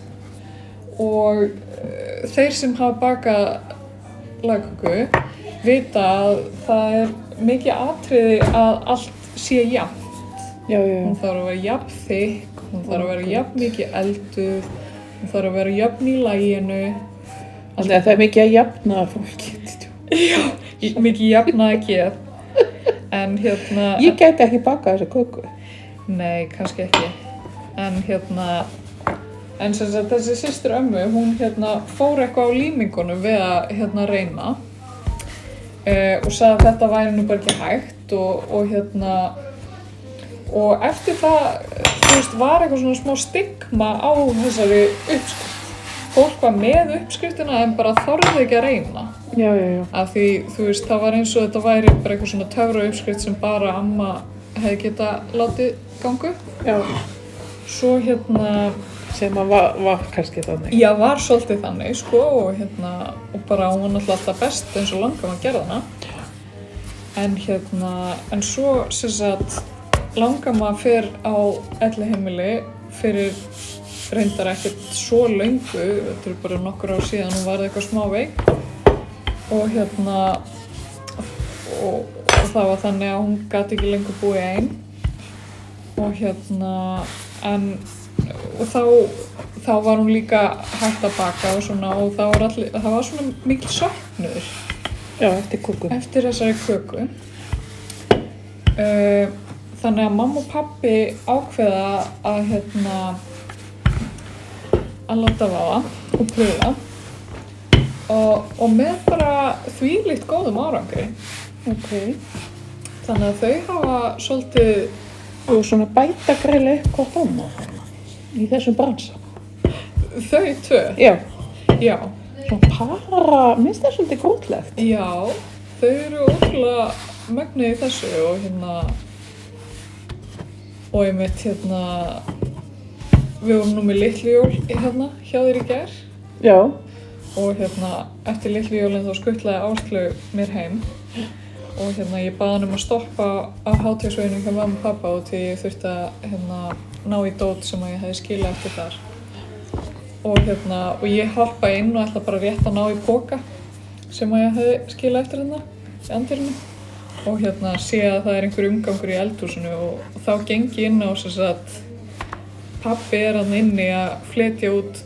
og uh, þeir sem hafa bakað lagköku vita að það er mikið atriði að allt sé jafnt Já, já, já. hún þarf að vera jafn þykk, hún þarf að vera jafn mikið elduð, hún þarf að vera jafn í læginu, Alltaf það er mikið að jafna fólki. Í- mikið jafnaði geð en hérna Ég gæti ekki bakað þessa köku. nei, kannski ekki en hérna en sem sagt þessi sýstur ömmu hún hérna fór eitthvað á límingunum við að hérna reyna uh, og sagði að þetta væri nú bara ekki hægt og, og hérna og eftir það þú veist var eitthvað svona smá stigma á þessari uppskrift fólk var með uppskriftina en bara þorði ekki að reyna Já, já, já. að því þú veist það var eins og þetta væri bara eitthvað svona töfra uppskrift sem bara amma hefði geta látið gangu Já. svo hérna Sem að var, var kannski þannig. já var svolítið þannig sko og hérna og bara hún var náttúrulega alltaf best eins og langar maður gerði hana en hérna en svo sem sagt langar maður fer á elli heimili fyrir reyndar ekkert svo löngu þetta er bara nokkur ár síðan hún varði eitthvað smá veik og hérna og, og það var þannig að hún gæti ekki lengur búið einn og hérna en og þá, þá var hún líka hægt að baka og svona og það var, allir, það var svona mikil söknur Já, eftir köku. eftir þessari köku uh, Þannig að mamma og pappi ákveða að hérna að láta vaða og pröfa og, og með bara þvílíkt góðum árangri. Ok. Þannig að þau hafa svolítið Og svona bæta greiðlega eitthvað þannig í þessum bransa. þau tvö. Já. Já, Svona para, minnst það svolítið grótlegt. já, þau eru ótrúlega mögnuð í þessu og hérna og ég mitt hérna við vorum nú með litlu jól hérna hjá þér í gær Já. og hérna eftir litlu jólinn þá skuttlaði Áslu mér heim og hérna ég baði hann um að stoppa á hátíðsveginu hjá mamma og pappa og því ég þurfti að hérna ná í dót sem að ég hefði skilað eftir þar og hérna og ég hoppa inn og ætla bara rétt að ná í póka sem að ég hefði skilað eftir hérna í andirinu og hérna sé að það er einhver umgangur í eldhúsinu og þá geng ég inn á sem sagt pappi er hann inni að fletja út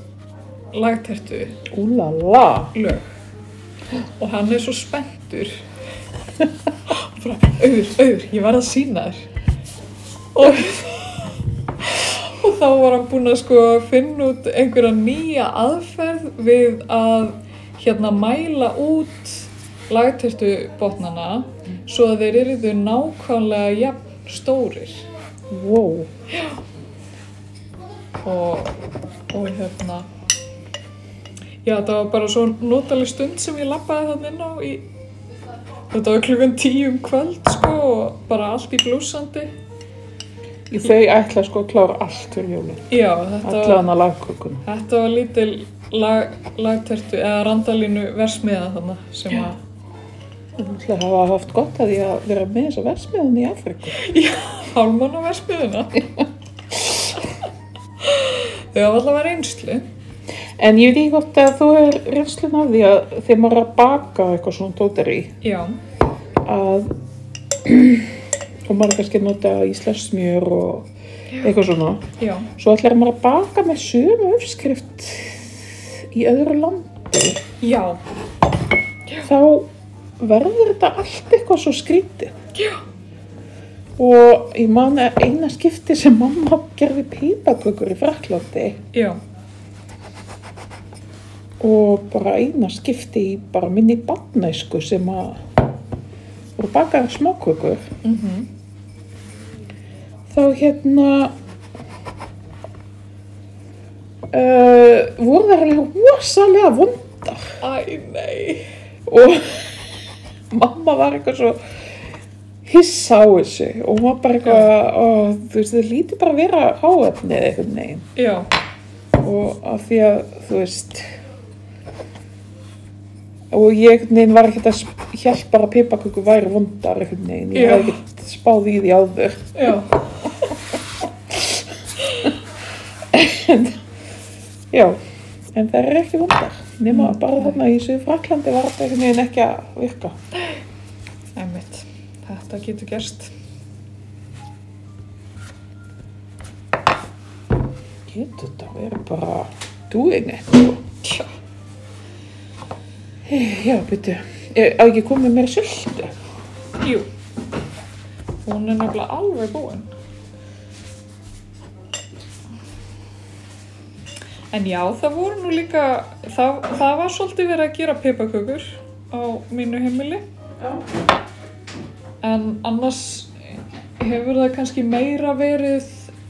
lagtertu Úlala. lög og hann er svo spenntur og bara, auður, auður, ég var að sína þér og og þá var hann búinn að sko finna út einhverja nýja aðferð við að hérna mæla út lagtertu botnana svo að þeir eru þau nákvæmlega jafn stórir Wow. og, og hérna já þetta var bara svo notaleg stund sem ég labbaði þannig inn á í þetta var klukkan tíu um kvöld sko og bara allt í blúsandi Þau ætla sko að klára allt fyrir jólinn. já þetta var, Allan að lagkökuna. þetta var lítil lag, lagtertu eða randalínu versmiða þannig sem að Það hafa haft gott að því að vera með þess að versmiðan í Afriku. hálmann á versmiðuna þau hafa alltaf verið einslu En ég veit ekki hvort að þú er reynslun af því að þegar maður er að baka eitthvað svona tótari já, að [clears throat] og maður er kannski að nota íslensk smjör og eitthvað svona já, svo ætlar maður að baka með sömu uppskrift í öðru land já þá verður þetta allt eitthvað svo skrítið Já. og ég man að eina skipti sem mamma gerði pípakökur í Fraklandi já, og bara eina skipti í bara minni barnæsku sem að voru bakaði smákökur Mhm. þá hérna uh, voru þær alveg rosalega vondar æ nei og [laughs] mamma var eitthvað svo hissa á þessu og hún var bara eitthvað og, þú veist, þau lítið bara að vera háefnið einhvern veginn já, og af því að þú veist og ég einhvern veginn var ekkert að hjálp bara að pipaköku væri vondar einhvern veginn, ég Já. hafði ekkert spáð í því áður já, já, en það eru ekki vondar nema Mm. bara þarna í Suður Fraklandi var þetta einhvern veginn ekki að virka einmitt þetta getur gerst getur þetta verið bara doing it sko. Tjá. já, byrju á ekki komið meira sultu Jú. Hún er nefnilega alveg búin. En já, það voru nú líka, það, það var svolítið verið að gera pipakökur á mínu heimili. En annars hefur það kannski meira verið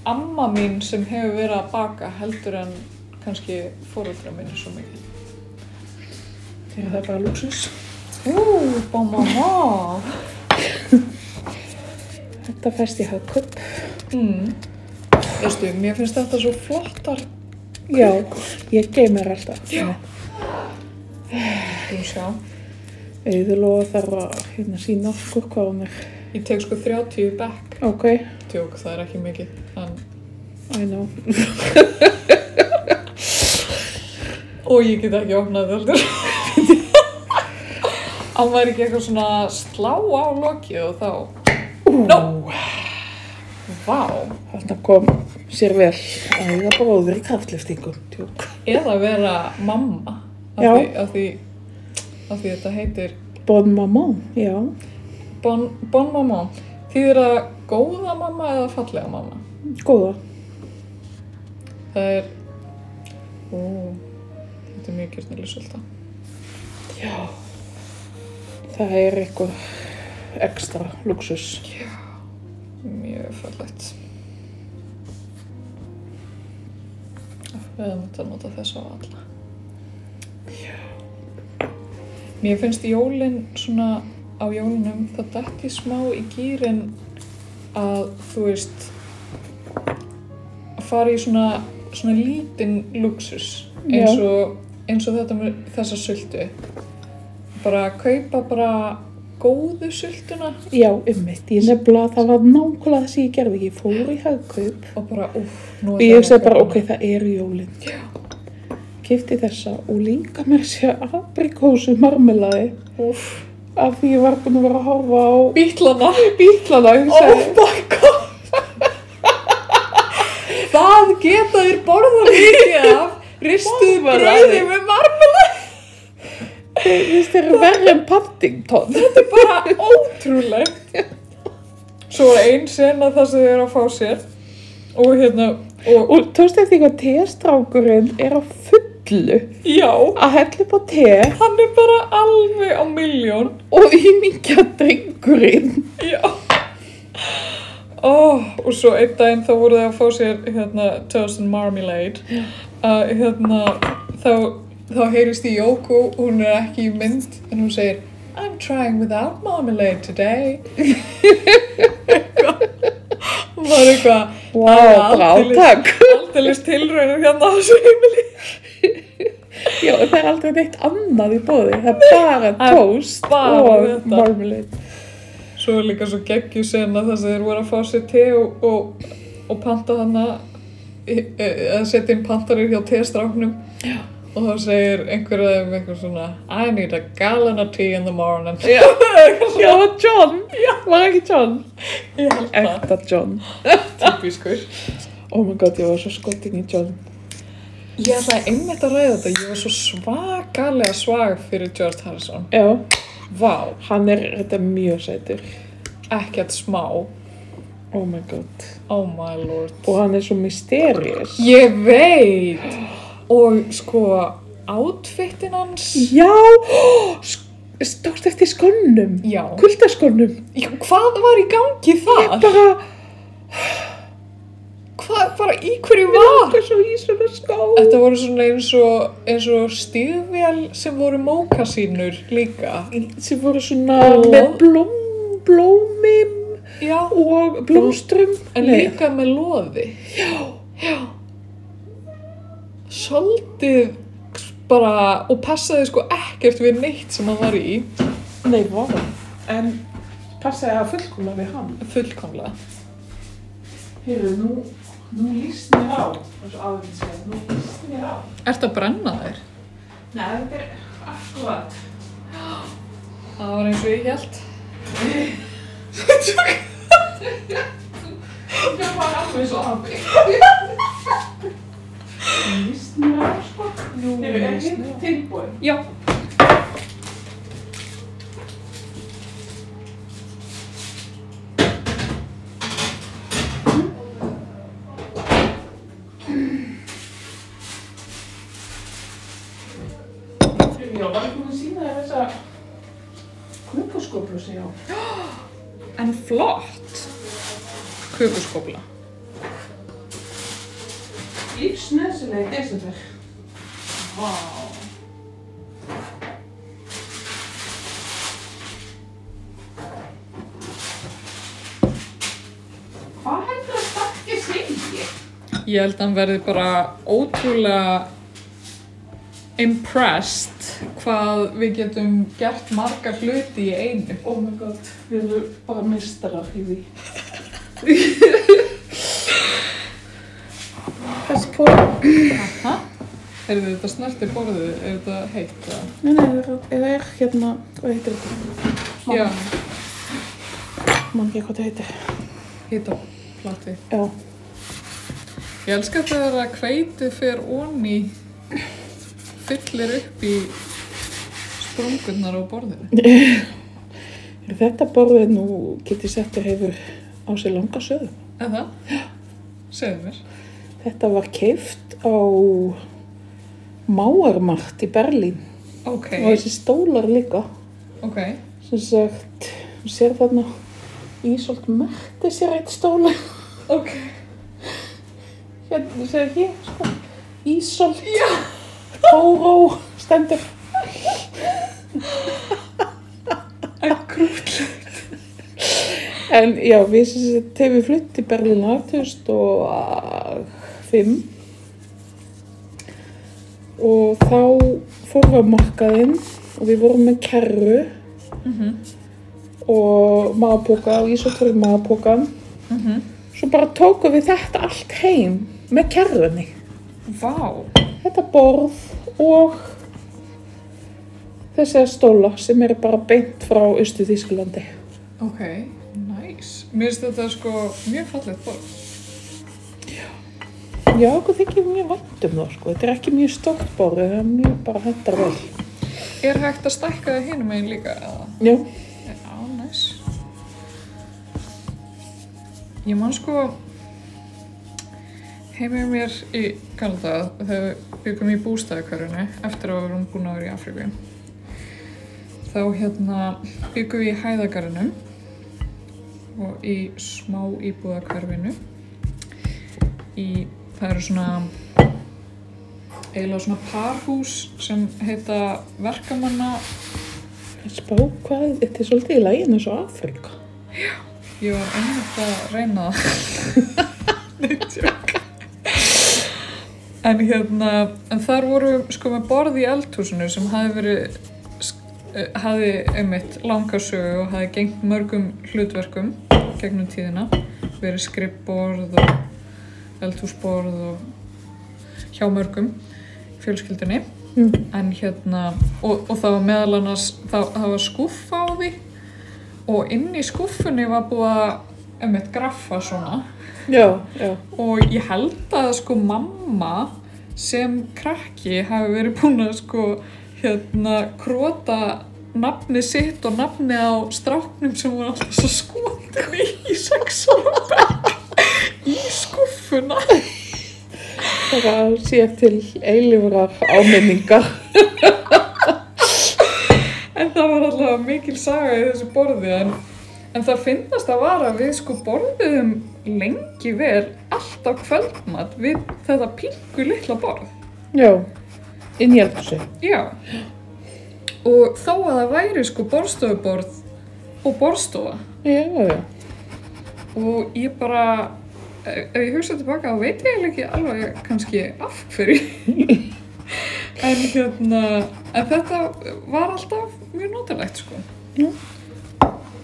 amma mín sem hefur verið að baka heldur en kannski fóröldra mínu svo mikið. þegar það er bara luxus Ú, bá mamma! þetta fæst í hagköp Mm. Veistu, mér finnst þetta svo flottar já, ég geymir alltaf Já. Þú sjá, Auðurlóa þarf að hérna sína okkur hvað hún er. ég tek sko 30 back Ok, Tjók, það er ekki mikið en... I know. Og ég get ekki opnað þetta Hann væri ekki eitthvað svona að slá á lokið og þá No! Vá! Þarna kom sér vel að eiga bróður í kraftliftingum. Tjók. Eða vera mamma af Já. því, af því, af því þetta heitir Bon maman, já. Bon, bon Maman Þýðir það góða mamma eða fallega mamma? Góða. Það er... Ó, þetta er mjög kjörnileg svolta. Það er eitthvað ekstra luxus. Mjög fallegt. Við höfum þetta að nota þess á alla. Mér finnst jólin svona á jólinum, það dætt ég smá í gýrin að þú veist að fara í svona, svona lítinn luxus eins og, eins og þetta með þessa sultu. Bara kaupa bara góðu sultuna Já, ummitt. Ég nefnilega það var nákvæmlega það sem ég gerði ekki. Ég fór í hagkaup og bara uff, nú og ég hugsaði bara, ok, það eru jólinn. Já. Kifti þessa og líka mér sé aprikósu marmelaði uff, af því ég var búin að vera að horfa á bítlana bílana. oh my god það geta þér borðað mikið [laughs] af ristuð Marmelaði. greiði með marmela Þú veist, þeir eru verri en Paddington. þetta er bara ótrúlegt svo er ein sena það sem þau eru að fá sér og hérna og, Og tókst eftir eitthvað testrákurinn er á fullu já, að hella upp á te hann er bara alveg á miljón og ímingja drengurinn. Já oh, Og svo einn daginn þá voru þau að fá sér hérna, toast and marmalade að hérna þá, þá heyrist í Jóku hún er ekki í mynd en hún segir I'm trying without marmalade today Hún var eitthvað Vá, bara átak. Aldeilis tilraunum hérna á þessu heimili Já, það er aldrei neitt annað í bóði. Það er bara tóst bara og þetta. marmalade. Svo er líka svo geggju sena þess að þeir voru að fá sér te og, og, og panta hana e- e- eða setja inn pantanir hjá testráknum og þá segir einhver af þeim eitthvað svona I need a gallon of tea in the morning [laughs] Já, já John. Já. Var ekki John? Ég held það, Ekta John. typískur Oh my god, ég var svo skotin í John. Ég ætlaði einmitt að ræða þetta ég var svo svakalega svag fyrir George Harrison Já, Vá, hann er þetta er mjög sætur. ekkert smá Oh my god. Oh my lord Og hann er svo mysterious. Ég veit og sko outfitin hans Já, [gasps] stókst eftir skonnum. Já. Kuldaskonum. Já, hvað var í gangi þar? Bara... Hvað, bara í hverju Mig var? langar svo í svona skó Þetta voru svona eins og, eins og stíðvél sem voru mókasínur líka. sem voru svona Og- með blóm, blómim Já, og blómstrum en Nei, líka með loði. Já, já. Svolítið bara, og passaði sko ekkert við neitt sem hann var í, nei, vá En passaði það fullkomlega við hann. fullkomlega. Heyrðu, nú, nú líst mér á, eins og áður minn segja, nú líst mér á. Ertu að brenna þér? Nei, þetta er akkurat. Það var eins og ég held. Þetta var alveg svo afi. Nú líst mér á, sko. nú Heyrðu, er er hitt tilbúin? Já. Heyrðu, já, var ég búin að sína þér þessa kukuskoplu sem ég á? En flott. Kukuskopla. Lífsnöðsilega í desember. Vá. Hvað heldur að stakki segi? Ég held að hann verði bara ótrúlega impressed hvað við getum gert marga hluti í einu. Oh my god, við erum bara mistarar í því. þess på nei, Aha. Er þetta snerti borðið? Er þetta heitt? eða? nei, það er hérna hvað heitir þetta, Já, mann ekki hvað það heitir hýta plati. já, Ég elska þegar að hveiti fer onni fyllir upp í sprungunar á borðinu. Er þetta borðið nú, getið settir hefur á sér langa sögum. En það? Segðu mér. Þetta var keift á Máarmart í Berlín Ok, og þessi stólar líka. ok. Sem sagt, hún sér þarna Ísolt merkti sér eitt stóla. Ok. Hérna, þú segir hér, sko. Ísolt. Já. Tóró, stendur. En krúll. En já, við sem sagt, þegar við flutt til Berlín árið 2005 og þá fórum við á markaðinn og við vorum með kerru og maðapoka og ísoturinn maðapokan. Svo bara tókum við þetta allt heim með kerrunni. Vá. Þetta borð og þessi stóla sem eru bara beint frá Östu Þísklandi. Ok, nice. Mér finnst þetta sko mjög fallegt borð. Já, okkur þykir mjög vant um það sko. Þetta er ekki mjög stórt borð, það er mjög bara hendar vel. Er hægt að stækka það hinum einn líka eða? Já, Já, nice. Ég man sko heima hjá mér í Kanada þegar við byggum í bústæðakörunni eftir að við vorum búin að vera í Afríku. Þá hérna byggum við í hæðagarunum og í smá íbúðakörfinu í, það eru svona eiginlega svona parhús sem heita verkamanna spá hvað, þetta er svolítið í læginu eins og Afrika. Ég var einmitt að reyna það. [laughs] Nei, tjók. En hérna, en þar voru sko með borð í eldhúsinu sem hafi verið, sk- eh, hafi einmitt langa sögu og hafi gengt mörgum hlutverkum gegnum tíðina. Verið skrippborð og eldhúsborð og hjá mörgum fjölskyldunni. Mm. En hérna, og, og það var meðal annars, það, það var skúffa á því og inn í skúffunni var búið að einmitt graffa svona Já, já. og ég held að sko mamma sem krakki hafi verið búin að sko hérna krota nafni sitt og nafni á stráknum sem voru alltaf svo skotin í í sexanum í skúffuna Það er að sé til eilifrar áminningar. En það var alltaf mikil saga í þessu borði en, en það finnast að vara við sko borðum lengi vel allt á kvöldmat við þetta pingu litla borð. Já, inn í eldhúsi. Já. Og þó að það væri sko borðstofuborð og borðstofa Já, já. og ég bara, ef ef ég hugsa tilbaka þá veit ég eiginlega ekki alveg kannski af hverju. [laughs] en hérna, en þetta var alltaf mjög notalegt sko. Já.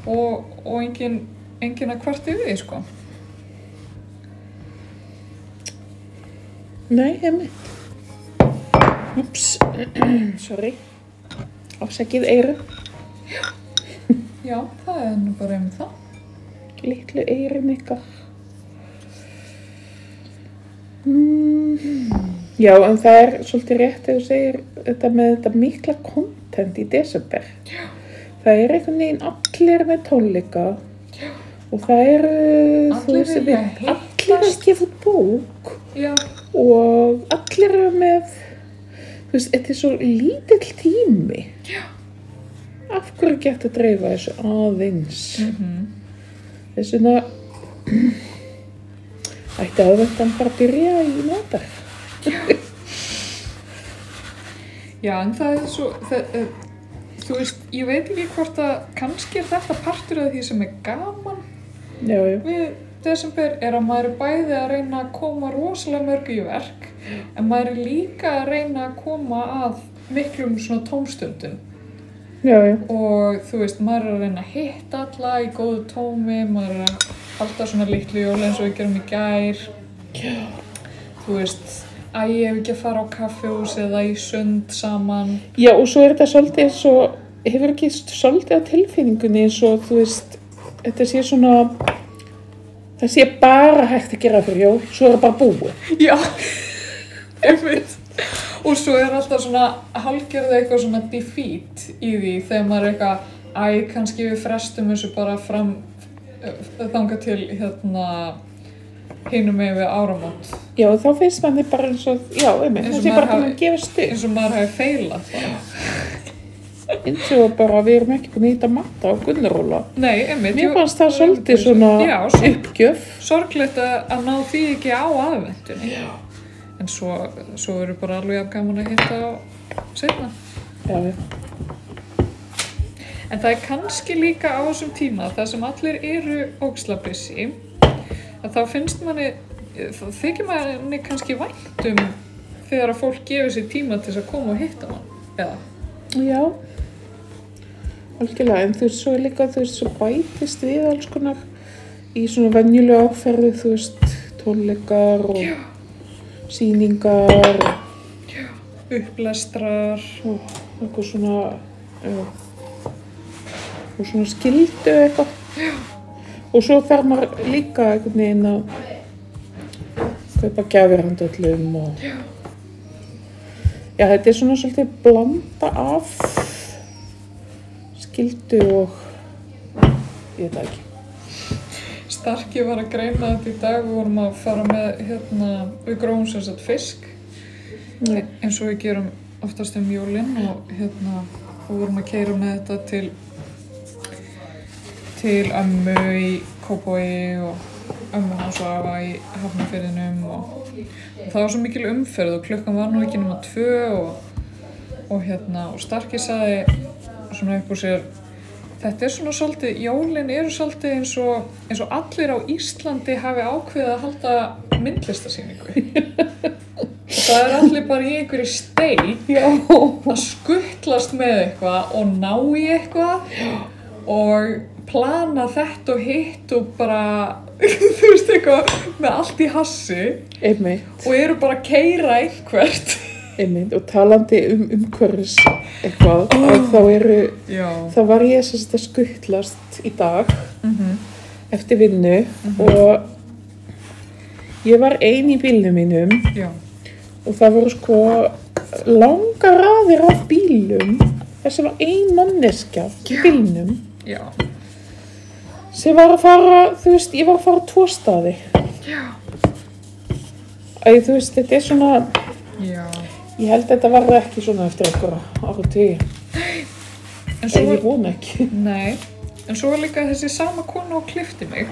Og, og engin, engin að kvart yfir því sko. Nei, heimitt. Ups, [clears throat] sorry. Afsakið eyru. Já, það er nú bara einmitt það. Littlu eyrum ykkar. Mm. Já, en það er svolítið rétt þegar þú segir þetta með þetta mikla kontent í desember. Já. Það er einhvern veginn allir með tónleika og það eru, þú Allir veist, vilja við- hittast. allir að gefa út bók Já, og allir eru með, þú veist, þetta er svo lítill tími. Já. Af hverju getur að dreifa þessu aðeins? mm Mhm. Þess vegna ætti aðvendan bara að byrja í nótar. já en það er svo, það, uh, þú veist, ég veit ekki hvort að kannski er þetta partur af því sem er gaman Já, já. við desember er að maður er bæði að reyna að koma rosalega mörgu í verk en maður er líka að reyna að koma að miklum svona tómstundum Já, já. og þú veist, maður er að reyna að hitta alla í góðu tómi, maður er að halda svona litlu jól eins og við gerum í gær þú veist, æ, ég hef ekki að fara á kaffjós eða í sund saman Já, og svo er þetta svolítið eins og, hefur ekki svolítið á tilfinningunni eins og, þú veist, þetta sé svona, það sé bara hægt að gera fyrir jól, svo er það bara búið. Já, [laughs] einmitt. Og svo er alltaf svona halgerða eitthvað svona defeat í því þegar maður er eitthvað Æ, kannski við frestum þessu bara fram þanga til hérna hinum megin við áramót Já, þá finnst mann þið bara eins og, já, einmitt, Eins og það sé maður bara búin hafi- að gefa styrk. eins og maður hafi feilað það. Eins og bara við erum ekki búin að hýta matta á gulluróla. Nei, einmitt. Mér ég- fannst það svolítið svona Já, svo, uppgjöf. sorglegt að að ná því ekki á aðvendunni. Já. En svo, svo eru bara alveg jafn gaman að hitta á setna. Já, já. En það er kannski líka á þessum tíma þar sem allir eru ógslabissi að þá finnst manni þá þykir manni kannski vænt um þegar að fólk gefur sér tíma til þess að koma og hitta mann eða Já, algjörlega, en þú veist svo er líka, þú veist, svo bætist við alls konar í svona venjulega áferðu, þú veist, tónleikar og Já. sýningar og upplestrar svo, eitthvað svona, já, og svona skildu eitthvað. Já. Og svo þarf maður líka einhvern veginn að kaupa gjafir handa öllum og... Já. Já, þetta er svona svolítið blanda af skildu og ég veit það ekki. Starki var að greina þetta í dag við vorum að fara með hérna, við grófum sem sagt fisk Nei. eins og við gerum oftast um jólinn og hérna og vorum að keira með þetta til til ömmu í Kópói og ömmu hans og afa í hafnafyrðinum og, og það var svo mikil umferð og klukkan var nú ekki nema tvö og, og hérna og Starki sagði svona upp úr sér þetta er svona svolítið, jólinn eru svolítið eins og, eins og allir á Íslandi hafi ákveðið að halda myndlistasýningu [laughs] Það er allir bara í einhverju steik Já. að skuttlast með eitthvað og ná í eitthvað og plana þetta og hitt og bara, [laughs] þú veist eitthvað, með allt í hassi Einmitt, og eru bara að keira einhvert. einmitt. Og talandi um umhverfis eitthvað, að þá eru, Já. þá var ég sem sagt að skuttlast í dag Mm eftir vinnu Mhm. og ég var ein í bílnum mínum Já. og það voru sko langa raðir af bílum þessi var ein manneskja í bílnum Já. sem var að fara, þú veist, ég var að fara tvo staði Já. Æ, þú veist, þetta er svona, Já. ég held að þetta verði ekki svona eftir einhverja ára tíu, En svo eða ég vona ekki. Nei, en svo er líka þessi sama konu og klifti mig.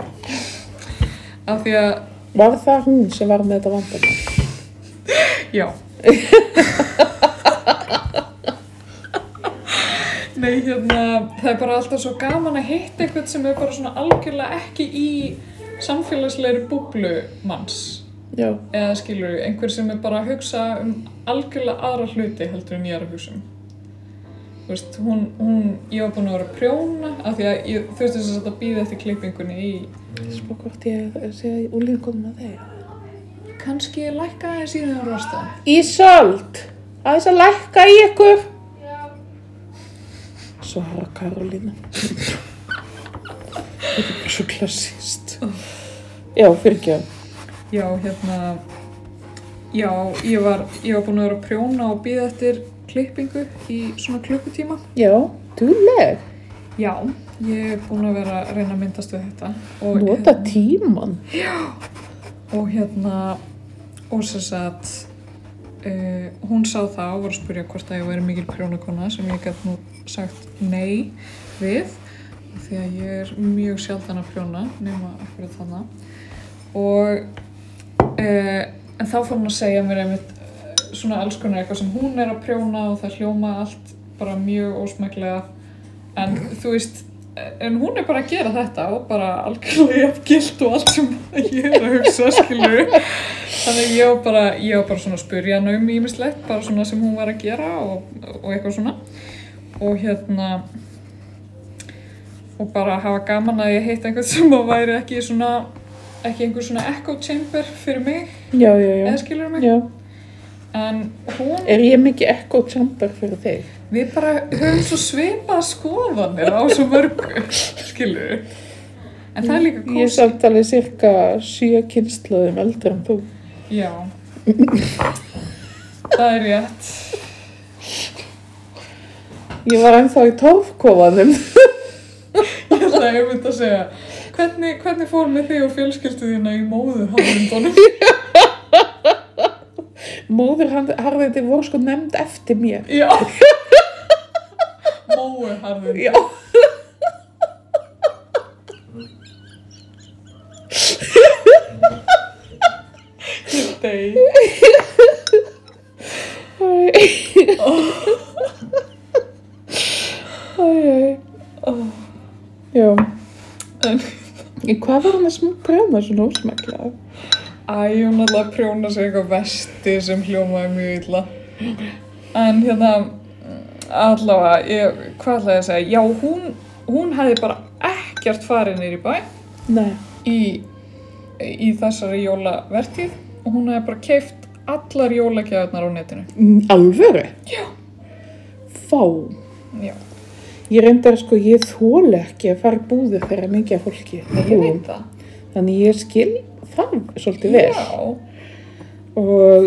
Af því að, Var það hún sem var með þetta vandamál? já. Nei, hérna, það er bara alltaf svo gaman að hitta eitthvað sem er bara svona algjörlega ekki í samfélagslegri búblu manns. Já, Eða skilur, einhver sem er bara að hugsa um algjörlega aðra hluti heldur en ég er að hugsa um. Þú veist, hún, hún, ég var búin að vera að prjóna af því að ég þurfti þess að býða eftir klippingunni í spá hvort ég sé úlingum með þeir. kannski lækka aðeins í þeim rostan. Ísöld, aðeins að lækka í ykkur. Svara Karolína. Þetta er bara svo klassist. Já, fyrirgjá. Já, hérna, já, ég var, ég var búin að vera að prjóna og býða eftir klippingu í svona klukkutíma. Já, dúleg. Já, ég er búin að vera að reyna að myndast við þetta. Og, hérna- Nota tíman. Og hérna, og sem sagt, uh, hún sá það og var að spyrja hvort að ég væri mikil prjónakona sem ég gæti nú sagt nei við af því að ég er mjög sjaldan að prjóna nema akkurat þannig og uh, en þá fór hún að segja mér einmitt eh, svona alls konar eitthvað sem hún er að prjóna og það hljóma allt bara mjög ósmæklega en þú veist en hún er bara að gera þetta og bara algjörlega jafngilt og allt sem ég er að hugsa skilur þannig að ég var bara, ég var bara svona að spurja hana um ímislegt bara svona sem hún var að gera og, og eitthvað svona og hérna og bara hafa gaman að ég heita einhvern sem að væri ekki svona ekki einhver svona echo chamber fyrir mig Já, já, já. eða sko- skilur mig Já. en hún Er ég mikið echo chamber fyrir þig? Við bara höfum svo svipað skoðanir á svo mörgu, skilur En það er líka Ég er kósi. samt alveg cirka sjö kynnslóðum eldri en þú. Já. Það er rétt. [laughs] Ég var ennþá í torfkofanum. ætlaði að ég myndi að segja hvernig, hvernig fór með þig og fjölskyldu þína í móðu hálfundunum? Móður hann- harðindi voru sko nefnd eftir mér. Já Móðu harðund Já. Dei Æj, æj. Já. En- En hvað var hann að sm- prjóna svona ósmækla? Æ, hún alltaf prjóna sig eitthvað vesti sem hljómaði mjög illa. En hérna, allavega, ég, hvað ætlaði ég að segja? Já, hún, hún hefði bara ekkert farið neyri bæ Nei. í, í þessari jólavertíð og hún hefði bara keift allar jólagjafirnar á netinu. Mm, Alvöru? Já. Fá. Já, Ég reyndar sko, ég þóla ekki að fara í búðir þegar er mikið af fólki. á ég búðum. veit það. Þannig ég skil það svolítið vel. Já, og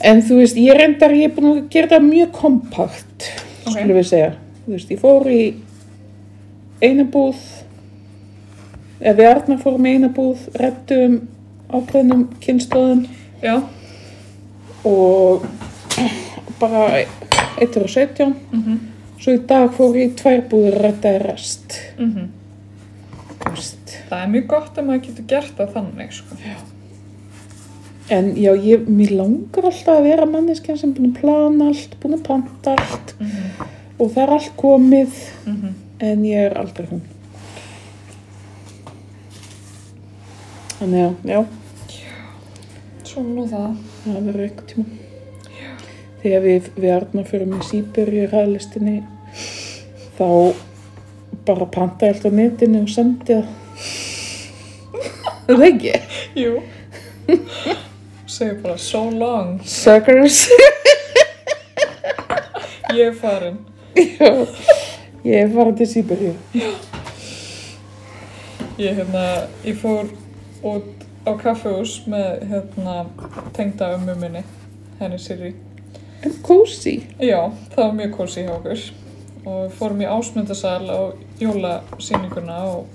en þú veist, ég reyndar ég er búin að gera það mjög kompakt Ok. skulum við segja þú veist, ég fór í eina búð eða við Arnar fórum í eina búð rettum ákveðnum kynnslóðum já, og bara 1 og 17 Mhm. svo í dag fór ég í tvær búður að retta rest mhm. þú veist Það er mjög gott að maður getur gert það þannig, sko. En já, ég, mér langar alltaf að vera manneskjan sem búin að plana allt, búin að panta allt og það er allt komið Mhm. en ég er aldrei hún. Þannig já, já, Svona nú það. það verður eitthvað tíma. Þegar við, við Arna förum í Sýbyrju ræðlistinni þá bara panta ég allt á netinu og sendi það. Er Það ekki? Jú. Segir bara, so long. Suckers. Ég er farin. já, ég er farin til Sýbyrju. Ég, hérna, ég fór út á kaffehús með hérna, tengda ömmu minni, henni Sirri. En kósi. Já, það var mjög kósi hjá okkur. Og við fórum í ásmundasal á jólasýninguna og,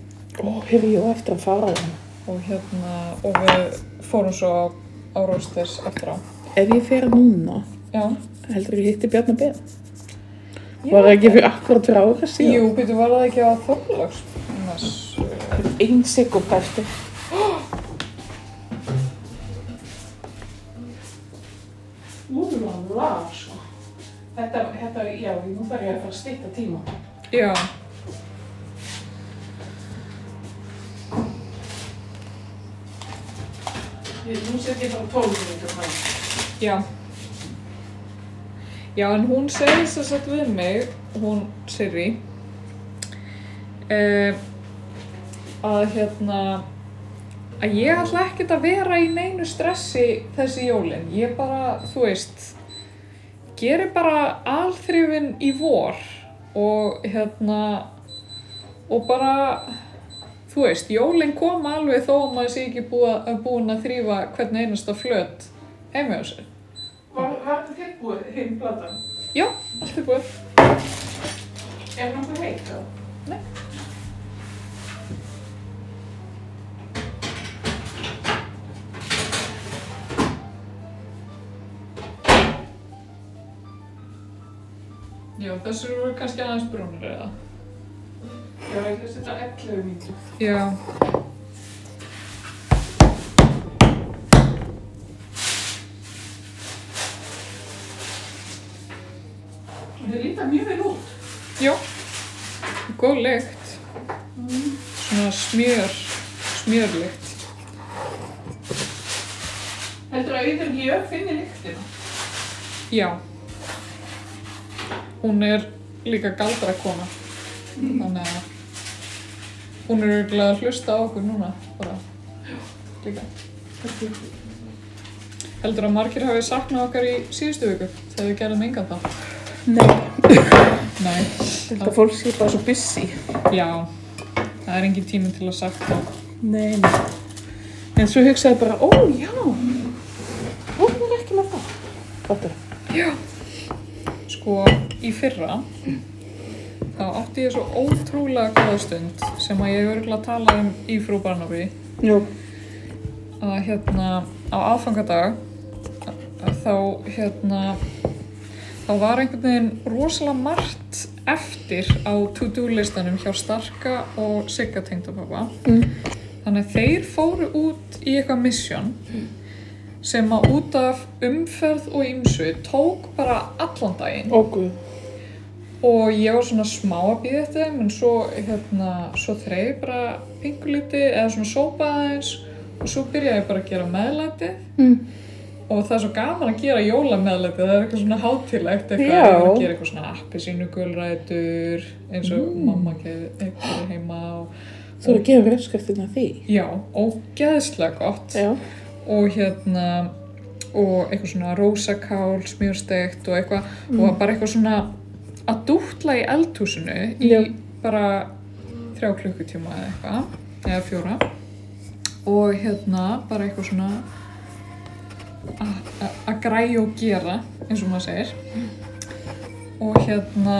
Ó, hefur ég á eftir að fara á hann. og, hérna, og við fórum svo á, á Rósters eftir á. Ef ég fer núna, Já. heldur ég hitti Bjarnar Ben. Var það ekki fyrir akkurat fyrir ára síðan? Jú, býtu, var það ekki á Þorlags? Næs. Einn sekundæfti. Úlala, sko. Þetta, þetta, já, nú þarf ég að fara að stýta tíma. Já. Ég, nú set ég bara tólf minútur fram. Já. Já, en hún segir þess að við mig, hún Sirri, uh, að hérna, að ég ætla ekkert að vera í neinu stressi þessi jólin. Ég bara, þú veist, gerir bara alþrifin í vor og hérna, og bara, þú veist, jólin koma alveg þó að maður sé ekki búa, búin að þrýfa hvern einasta flöt heima á sér. Var, var þetta tilbúið hinn platan? Já, allt er búið. Er nokkuð heitt þá? Nei. Já, þessir eru kannski aðeins brúnir eða? Já, ég ætla að setja 11 mínútur. Já. Þeir líta mjög vel út. Já. Góð lykt. Svona smjör, smjörlykt. Heldur að yfir ég finni lyktina? Já. Hún er líka galdra kona. Þannig að hún er auðvitað að hlusta á okkur núna. Bara. Líka. Heldur að margir hafi saknað okkar í síðustu viku þegar við gerðum engan þá. Nei, Nei. þetta fólk sé bara svo busy. Já. Það er engin tími til að sakna. Nei, nei. En svo hugsaði ég bara, ó já, hún er ekki með það. Fattur. Sko, í fyrra þá átti ég svo ótrúlega góða stund sem að ég hef örgulega talað um í frú Barnaby Jú. að hérna á aðfangadag að þá hérna þá var einhvern veginn rosalega margt eftir á to-do listanum hjá Starka og Sigga tengdapappa Mm. þannig að þeir fóru út í eitthvað misjón sem að út af umferð og ýmsu tók bara allan daginn Ó guð. og ég var svona smá að býða eftir þeim en svo, hérna, svo þreif bara pingulíti eða svona sópaði aðeins og svo byrjaði ég bara að gera meðlæti Mm. og það er svo gaman að gera jólameðlæti það er eitthvað svona hátilegt eitthvað Já. ég var að gera eitthvað svona appi sínu gulrætur eins og Mm. mamma keði eitthvað heima og, Þú eru að gefa röskaftin að því. já, ógeðslega gott Já. og hérna og eitthvað svona rósakál, smjörsteikt og eitthvað og var bara eitthvað svona að dútla í eldhúsinu í Já. bara þrjá klukkutíma eða eitthvað eða fjóra og hérna bara eitthvað svona a- a- að græja og gera eins og maður segir og hérna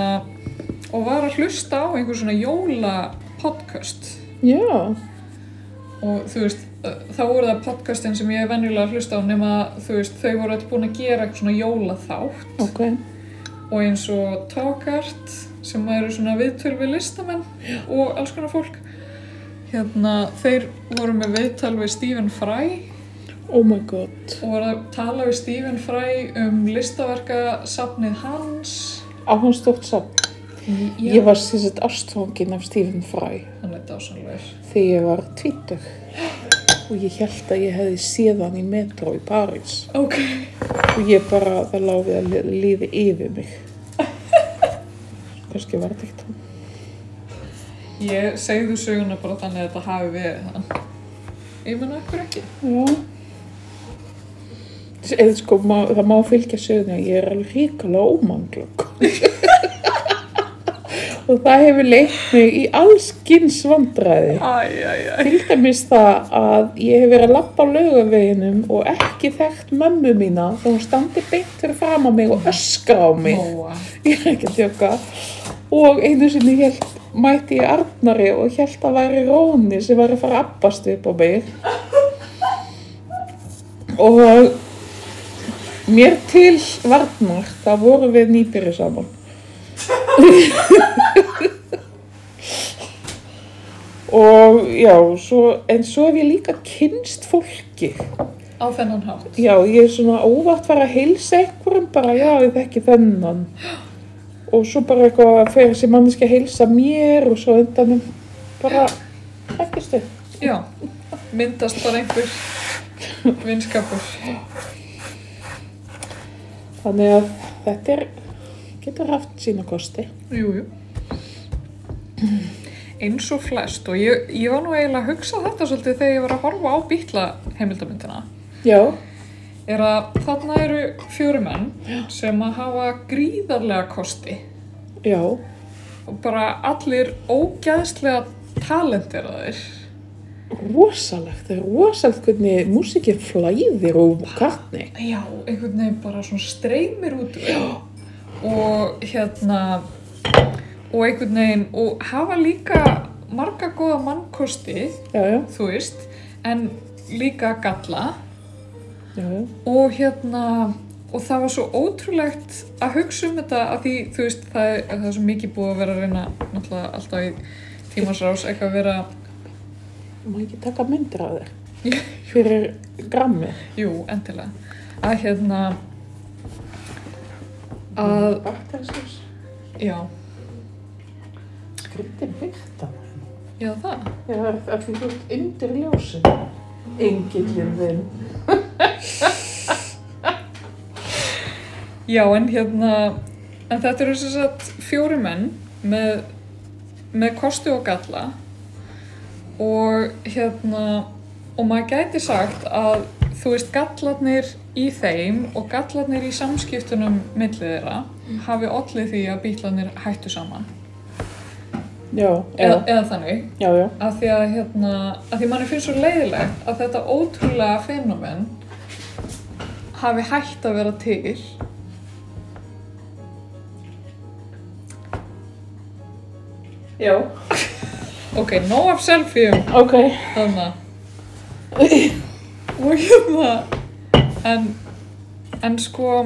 og var að hlusta á einhver svona jólapodcast Já. og þú veist, þá voru það podcastin sem ég er venjulega að hlusta á nema þú veist, þau voru alltaf búin að gera eitthvað svona jólaþátt Ok. og eins og Talkart sem eru svona viðtöl við listamenn og alls konar fólk hérna, þeir voru með viðtal við Stephen Fry Oh my god. og voru að tala við Stephen Fry um listaverka safnið hans Á hans stórt samt. Ég var síðan ástfangin af Stephen Fry hann er dásanlegur þegar ég var tvítug. Og ég held að ég hefði séð hann í metro í París. ok, Og ég bara, það láfið að li- líði yfir mig. [laughs] Kanski var þetta ekkert hann. ég segðu söguna bara þannig að þetta hafi verið hann ég menna okkur ekki Já. Mm. Eða sko, má, það má fylgja söguna, ég er alveg ríkulega ómanglögg. [laughs] og það hefur leitt mig í allskins vandræði. æj, æj, æj Til dæmis það að ég hef verið að lappa á laugaveginum og ekki þekkt mömmu mína þó hún standi beint fyrir fram á mig og öskra á mig. Móa. Ég er ekki að tjóka. Og einu sinni hélt, mætti ég Arnari og hélt að væri Róni sem var að fara að abbast upp á mig. Og mér til varnar, þá vorum við nýbyrju saman. [laughs] og já, svo, en svo hef ég líka kynst fólki. Á þennan hátt. Já, ég er svona óvart var að heilsa einhverjum bara, já, ég þekki þennan. Og svo bara eitthvað fer þessi manneski að heilsa mér og svo endanum bara þekkist þau. Já, myndast bara einhver vinskapur. Þannig að þetta er, getur haft sína kosti. Jú, jú. Eins og flest og ég, ég var nú eiginlega að hugsa þetta svolítið þegar ég var að horfa á býtla heimildamyndina. Já, Er að þarna eru fjóri menn sem að hafa gríðarlega kosti já, og bara allir ógæðslega talentir að þeir. rosalegt, það er rosalegt hvernig músikinn flæðir og kartni. Já, einhvern veginn bara svona streymir út úr þeim. og hérna og einhvern veginn og hafa líka marga góða mannkosti Já, já, þú veist, en líka galla já, já, og hérna og það var svo ótrúlegt að hugsa um þetta að því, þú veist, það er, það er svo mikið búið að vera að reyna náttúrulega alltaf í tímasrás eitthvað að vera, má ekki taka myndir af þér fyrir grammi. jú, endilega að hérna að, Bakterisins, já, skrítið byrta. já það Já, það er- að því þú ert undir ljósin. Engillin þinn. Já, en hérna, en þetta eru sem sagt fjóri menn með, með kosti og galla og hérna, og maður gæti sagt að þú veist gallarnir í þeim og gallarnir í samskiptunum millið þeirra hafi allir því að bílarnir hættu saman Já, eða, já, eða þannig já, já. að því að hérna, að því manni finnst svo leiðilegt að þetta ótrúlega fenomen hafi hætt að vera til Já. Ok, nóg af um selfie-um Ok. þarna. [laughs] Og hérna, en, en sko,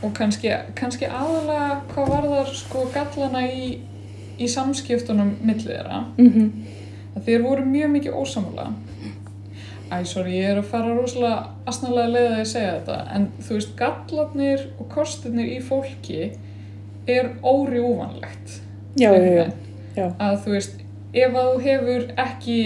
og kannski, kannski aðalega hvað varðar sko gallana í, í samskiptunum millið þeirra. Mm -hmm. að þeir voru mjög mikið ósamlega Æ, sorry, ég er að fara rosalega asnalega leið að ég segja þetta en þú veist, gallarnir og kostirnir í fólki er órjúvanlegt Já, já, já. já. að þú veist, ef að þú hefur ekki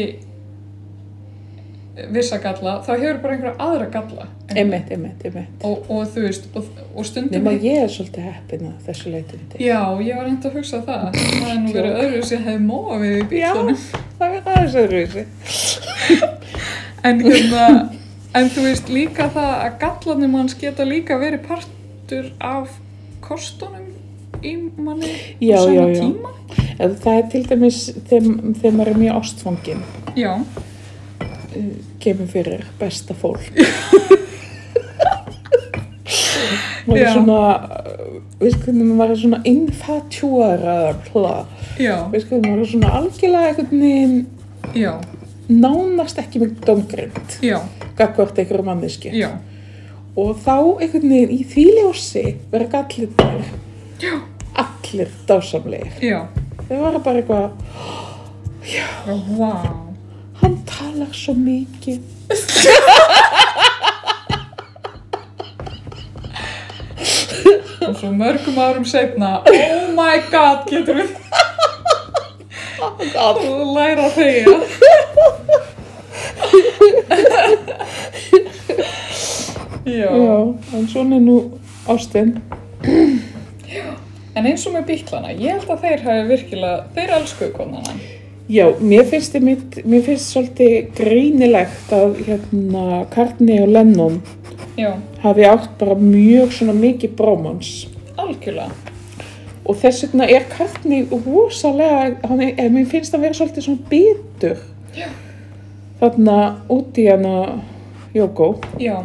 vissa galla, þá hefur bara einhverja aðra galla [laughs] Einmitt, einmitt, einmitt. og, og þú veist, og, og stundum Nefnum að ég er svolítið heppin að þessu um leytindi. Já, ég var reynd að hugsa það það er nú verið öðru sem hefði móa við í bílunum Það er aðeins öðruvísi. En hérna, en þú veist líka það að gallanir manns geta líka verið partur af kostunum í manni Já, á já, sama já. tíma. En Það er til dæmis þeim, þeim maður er mjög ástfangin, Já, kemur fyrir besta fólk. maður Já. er svona, uh, veist hvernig maður er svona infatjúaraðar plað. já, Veist hvernig maður er svona algjörlega einhvern veginn já, nánast ekki með domgrind, já, gagvart einhverju manneski. já, Og þá einhvern veginn í því ljósi verða gallinir, allir dásamlegir. já, Þau voru bara eitthvað, vá, wow. hann talar svo mikið. og svo mörgum árum seinna, oh my god, getur við Oh God. og læra að þegja. já. Já, en svona er nú ástinn. en eins og með bíklana, ég held að þeir hafi virkilega, þeir elskuðu konana. Já, mér finnst, þið mitt, mér finnst svolítið greinilegt að hérna Karni og Lennon Já, hafi átt bara mjög svona mikið brómans algjörlega. og þess vegna er Karni rosalega, hann er, eh, mér finnst að vera svolítið svona bitur Já. þarna út í hana Jókó, Já,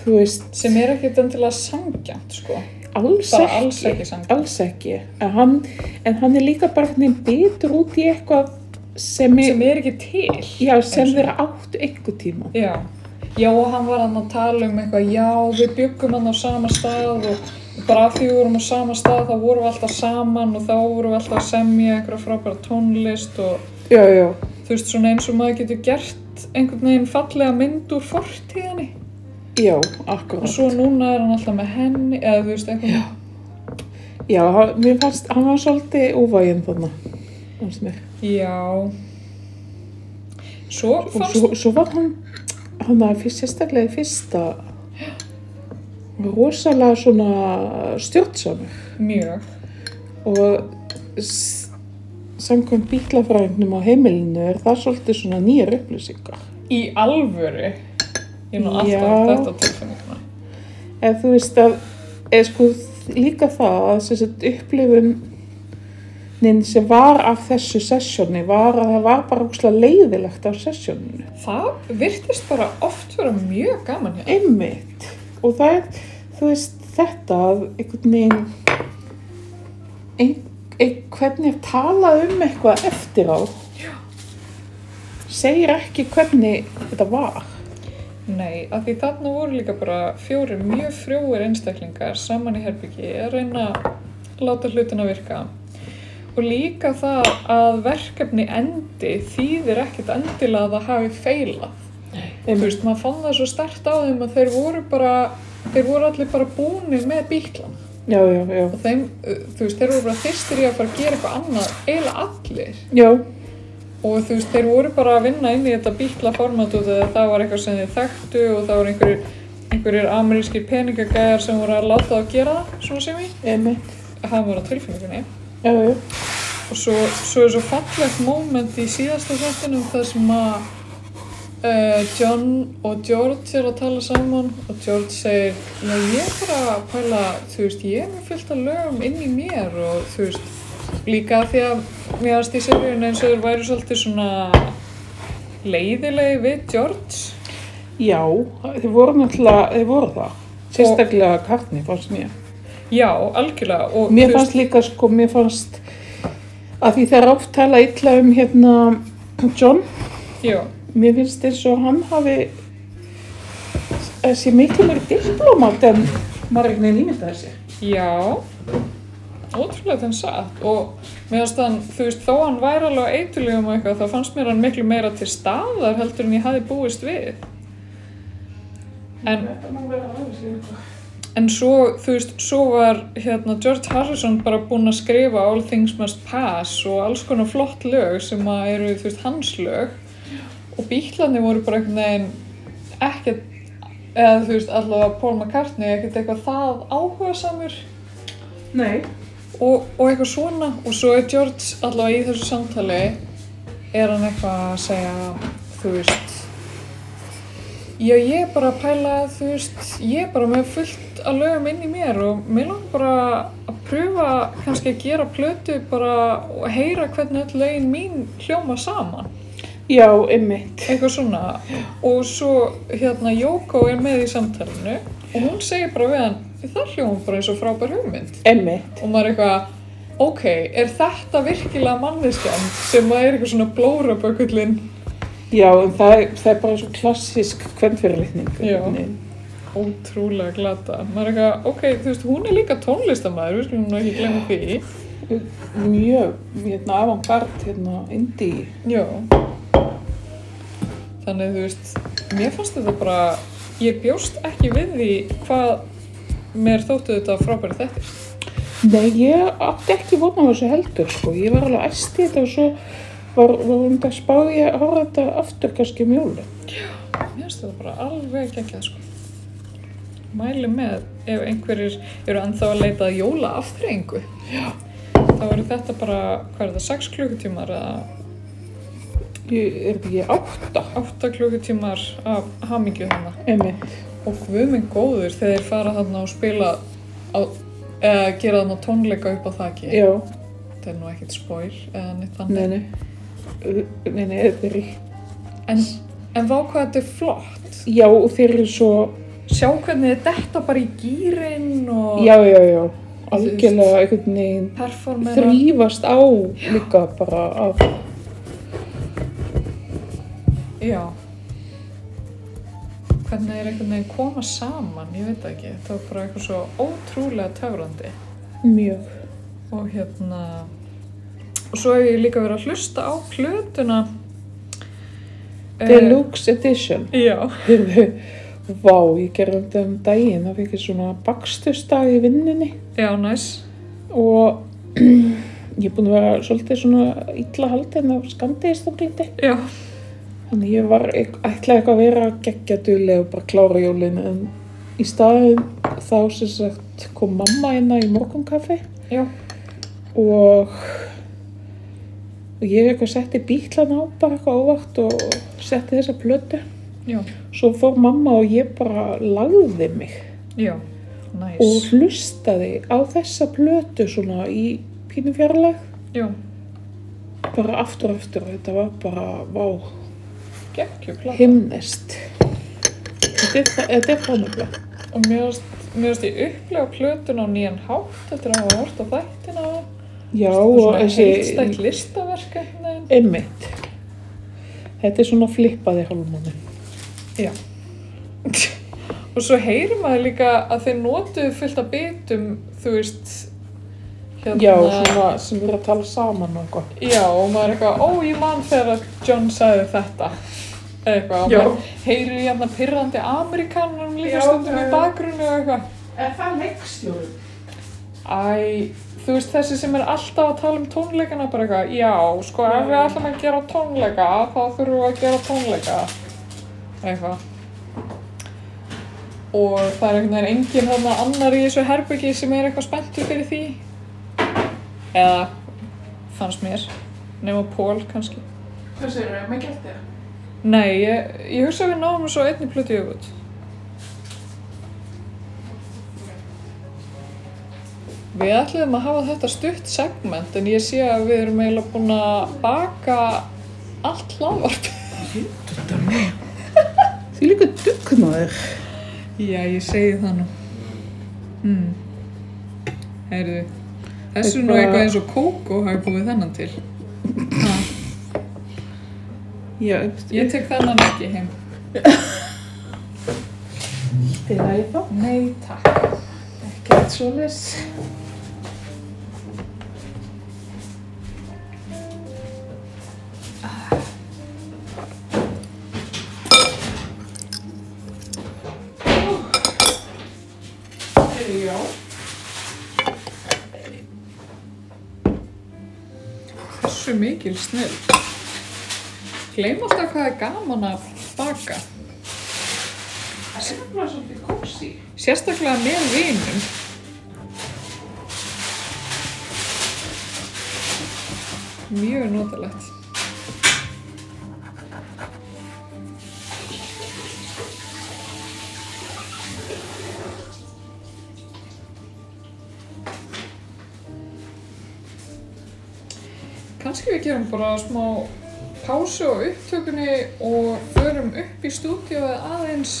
þú veist sem er ekkert endilega sangjant, sko. alls Bara ekki, alls ekki sangjant. alls ekki. En, hann, en hann er líka bara hvernig bitur út í eitthvað sem er Sem er ekki til. Já, sem Eins og- þeirra áttu einhver tíma. Já. Já, og hann var hann að tala um eitthvað, já, við byggum hann á sama stað og bara af því við vorum á sama stað, þá vorum við alltaf saman og þá vorum við alltaf að semja einhverja frábæra tónlist og Já, já. þú veist, svona eins og maður getur gert einhvern veginn fallega mynd úr fortíðinni Já, akkurat. og svo núna er hann alltaf með henni, eða þú veist, einhvern veginn. Já, hann- mér fannst, hann var svolítið óvæginn þarna. fannst mér. Já. Svo Og fannst, svo, svo var hann, hann var fyrst, sérstaklega í fyrsta, rosalega svona stjórnsamur. mjög, Og s- samkvæmt bíklafræðingnum á heimilinu er það svolítið svona nýjar upplýsingar. í alvöru, ég er nú alltaf Já. þetta á tilfinninguna. Ef þú veist að, eða sko líka það að þessi upplifunin sem var af þessu sessjóni var að það var bara úkslega leiðilegt af sessjóninu. Það virtist bara oft vera mjög gaman hjá. Einmitt. Og það er, þú veist, þetta að einhvern veginn, ein, ein, hvernig er talað um eitthvað eftir á, segir ekki hvernig þetta var. Nei, af því þarna voru líka bara fjórir mjög frjóir einstaklingar saman í herbyggi að reyna að láta hlutina virka. Og líka það að verkefni endi þýðir ekkert endilega að það hafi feilað. Þú Einmitt. veist, maður fann það svo stert á þeim að þeir voru bara, þeir voru allir bara búnir með bíklan. Já, já, já. Og þeim, uh, þú veist, þeir voru bara fyrstir í að fara að gera eitthvað annað, eiginlega allir. Já, Og þú veist, þeir voru bara að vinna inn í þetta bíkla format út af því að það var eitthvað sem þeir þekktu og það voru einhverjir, einhverjir amerískir peningagæjar sem voru að láta það gera það, svona sem ég, einmitt. það var á tilfinningunni. Já, já. Og svo, svo er svo fallegt moment í síðasta þettinum þar sem að uh, John og George er að tala saman og George segir, já ég er bara að pæla, þú veist, ég er með fullt af lögum inn í mér og þú veist, líka af því að mér aðst í seríun eins og þeir væri svolítið svona leiðilegi við George. Já, þeir voru náttúrulega, þeir voru það. Sérstaklega Karni, fannst mér. Já, algjörlega. Og Mér þú fannst líka, sko, mér fannst að því þegar oft tala illa um hérna John, veist- Já, mér finnst eins og hann hafi þessi miklu meiri diplomat en maður einhvern veginn ímyndaði sér. já. Ótrúlega þann satt. Og mér fannst hann, þú veist, þó hann væri alveg eitthulegum og eitthvað, þá fannst mér hann miklu meira til staðar heldur en ég hafi búist við. En Þetta má vera aðeins í eitthvað. En svo, þú veist, svo var hérna George Harrison bara búinn að skrifa All Things Must Pass og alls konar flott lög sem að eru, þú veist, hans lög og bílarnir voru bara einhvern veginn ekkert, eða þú veist, allavega Paul McCartney ekkert eitthvað það áhugasamur Nei. og, og eitthvað svona og svo er George allavega í þessu samtali er hann eitthvað að segja þú veist já ég er bara að pæla þú veist ég er bara með fullt að lögum inn í mér og mér langar bara að pröfa kannski að gera plötu bara og heyra hvernig öll lögin mín hljóma saman Já, einmitt. eitthvað svona og svo hérna Jóko er með í samtalinu og hún segir bara við hann það hljóma bara eins og frábær hugmynd Einmitt. og maður er eitthvað ok, er þetta virkilega manneskjan sem að er eitthvað svona blórabökullin Já, en það, er- það er bara svo klassísk kvennfyrirlitning. Já. ótrúlega glata maður er eitthvað, ok, þú veist, hún er líka tónlistamæður við skulum nú ekki glemma því Mjög, hérna, avantgard, hérna, indie. já þannig þú veist, mér fannst þetta bara ég bjóst ekki við því hvað mér þóttu þetta frábæri þetta Nei, ég átti ekki vona á þessu heldur, sko. Ég var alveg æst í þetta og svo var, var um þetta spáði ég að horfa þetta aftur kannski um mjóli. mér finnst þetta bara alveg geggjað sko mæli með ef einhverjir eru ennþá að leita að jóla afþreyingu þá eru þetta bara, hvað er það, 6 klukkutímar eða Ég er ekki átta. 8 klukkutímar af hamingju hana Einmitt. og guð minn góður þegar þeir fara þarna og spila á, eða gera þarna tónleika upp á þaki Já, þetta er nú ekkert spoil eða neitt þannig nei, nei. Uh, Nei, nei, þetta er ríkt. en, en vá hvað þetta er flott Já, og þeir eru svo, sjá hvernig þetta detta bara í gýrin og já, já, já, algjörlega einhvern veginn performera þrýfast á líka bara af, Já. Hvernig er einhvern veginn koma saman, ég veit það ekki. Það var bara eitthvað svo ótrúlega töfrandi. mjög. Og hérna... Og svo hef ég líka verið að hlusta á plötuna. Eh, Deluxe Edition. [laughs] Já. Heyrðu, Vá, ég gerði þetta um daginn, það fikk ég svona bakstustag í vinnunni. Já, næs. og [clears throat] ég er búin að vera svolítið svona illa haldin af skamdegist og gríti Já. þannig ég var eitth- ætlaði eitthvað að vera geggja duðlega og bara klára jólin en í staðin þá sem sagt kom mamma hérna í morgunkaffi Já. og og ég eitthvað setti bílan á bara eitthvað óvart og setti þessa plötu Já. svo fór mamma og ég bara lagði mig Já. Næs. og hlustaði á þessa plötu svona í pínu fjarlæg Já. bara aftur og aftur og þetta var bara, vá, Gekkju plata. himnest. Þetta er það- þetta er það nefnilega. Og mér varst, mér varst ég upplega plötuna á nýjan hátt eftir að hafa hort á þættina. Já, og og Heilstætt þessi, listaverk einhvern veginn. einmitt. Þetta er svona flippaði hálfmáni. Og svo heyrir maður líka að þeir notuðu fullt af bitum, þú veist, hérna, Já, svona sem við erum að tala saman og eitthvað. já, og maður er eitthvað, ó, ég man þegar að John sagði þetta, eða eitthvað, Já. og maður heyrir hérna pyrrandi Amerikanum líka Já, stundum já, í já. bakgrunni og eitthvað. Er það leikstjóri? Æ, þú veist þessi sem er alltaf að tala um tónleikana bara eitthvað, já, sko ef við ætlum að gera tónleika, þá þurfum við að gera tónleika, eitthvað. Og það er einhvern veginn enginn þarna annar í þessu herbyggi sem er eitthvað spenntur fyrir því. Eða, fannst mér, nema Pól kannski. Hvað segir þau? Mér gett þér. Nei, ég, ég hugsa að við náum svo einni plötu yfir. Við ætlum að hafa þetta stutt segment en ég sé að við erum eiginlega búin að baka allt hlaðvarp. [laughs] Því líka dugnaður. Já, ég segi það nú. Mm. Heyrðu, þessu er nú Eitthvað- eitthvað eins og kókó hafi búið þennan til. Ha, Já, ég tek þennan ekki heim. Til að ég þá. Nei, takk. Ekkert svo les. Heyrðu, já. Þessu mikil snill. Gleim alltaf hvað er gaman að baka. Það er bara svolítið kósi. Sérstaklega með vinum. Mjög notalegt. Kanski við gerum bara smá pásu á upptökunni og förum upp í stúdíu aðeins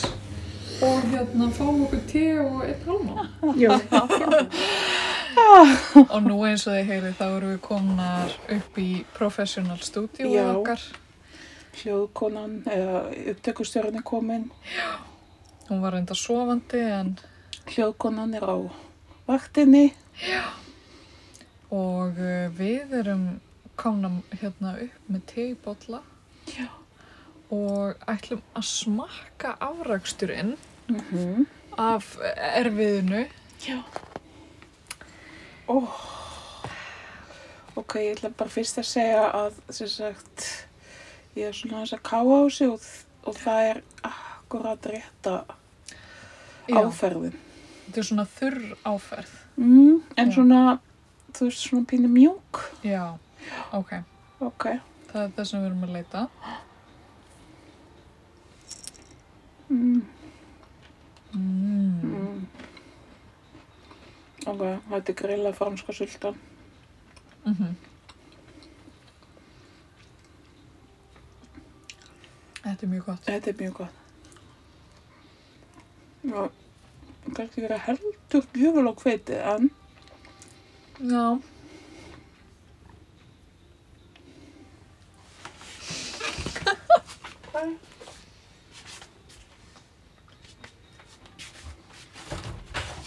og hérna fáum okkur te og eitt hálma. Já. [laughs] Og nú eins og þið heyrið þá erum við komnar upp í professional stúdíu Já. okkar. Hljóðkonan eða upptökustjórinn er komin. Hún var reynda sofandi en Hljóðkonan er á vaktinni. og uh, við erum komna hérna upp með teibotla Já. og ætlum að smakka afraksturinn Mm Mhm. -hmm. af erfiðinu. Ok, ég ætla bara fyrst að segja að, sem sagt, ég er svona þess að káa á sig og, og það er akkurat rétta Já, áferðin. þetta er svona þurr áferð. Mm, en Já. svona, þú veist, svona pínu mjúk. Já, ok. Ok. Það er það sem við erum að leita. Mm. Mm. Mm. Ok, þetta er grilla franska sultan. Mm Þetta er mjög gott. Þetta er mjög gott. Já, kannski verið heldur djöful á hveiti, en Já.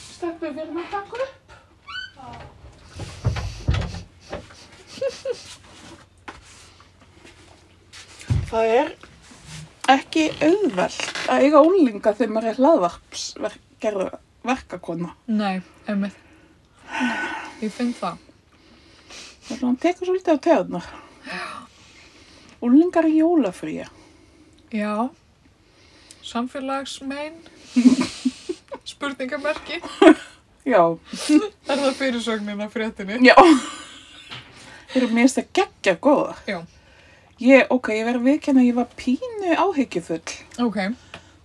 Steppi, við erum að taka upp. það er ekki auðvelt að eiga ólinga þegar maður er hlaðvarpsverkakona. Nei, emið. Ég finn það. Það er svona, hann tekur svolítið á tegurnar. Ólingar í jólafríi. Já. [laughs] Samfélagsmein. Spurningamerki. Já, Er það fyrirsögnin af fréttinni? já. Þeir eru mér finnst það geggja góða. Já. Ég, ok, ég verði viðkenn að ég var pínu áhyggjufull. Ok.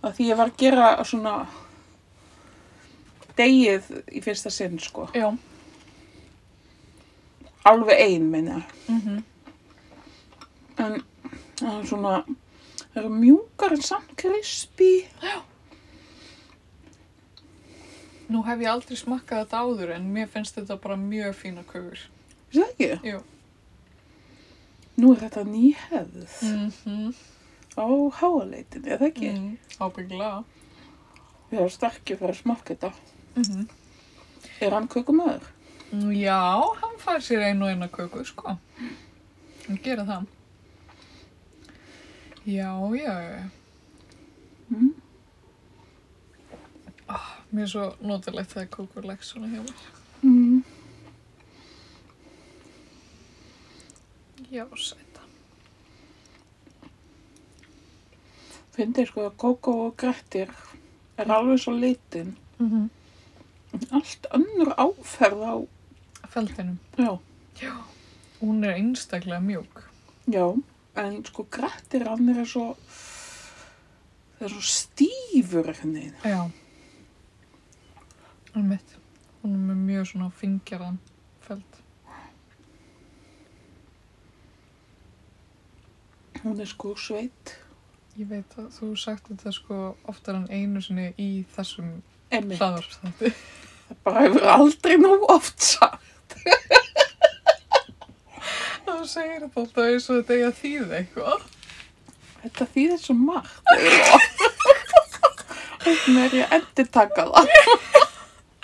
að því ég var að gera svona degið í fyrsta sinn sko Já. alveg ein minna Mm en það er svona það eru mjúkar en samt krispi Nú hef ég aldrei smakkað þetta áður en mér finnst þetta bara mjög fína kökur. er það ekki? Jú. Nú er þetta nýhefð Mm -hmm. á háaleitin, er það ekki? Mm, ábyggilega. Við erum sterkir fyrir að smakka þetta. Mm Er hann kökumöður? Nú, Já, hann fær sér einu og eina köku, sko. Hann gera það. Já, já, já. Mm. Ah, mér er svo notalegt þegar kókur legg svona hjá mér. Mm. Já, sæta. Fyndi sko að Kókó og Grettir er alveg svo litin. Mm -hmm. Allt önnur áferð á, Feldinum. já, Hún er einstaklega mjúk. Já, en sko grættir hann er svo það er svo stífur einhvern veginn. Já. Hún er mitt. Hún er með mjög svona fingjarðan feld. Hún er sko sveitt. Ég veit að þú hefur sagt þetta sko oftar en einu sinni í þessum Emmi. hlaðarstætti. Það bara hefur aldrei nóg oft sagt. [laughs] Þú segir þetta alltaf eins og þetta eiga að þýða eitthvað. Þetta þýðir svo margt. Þannig er ég að endurtaka það.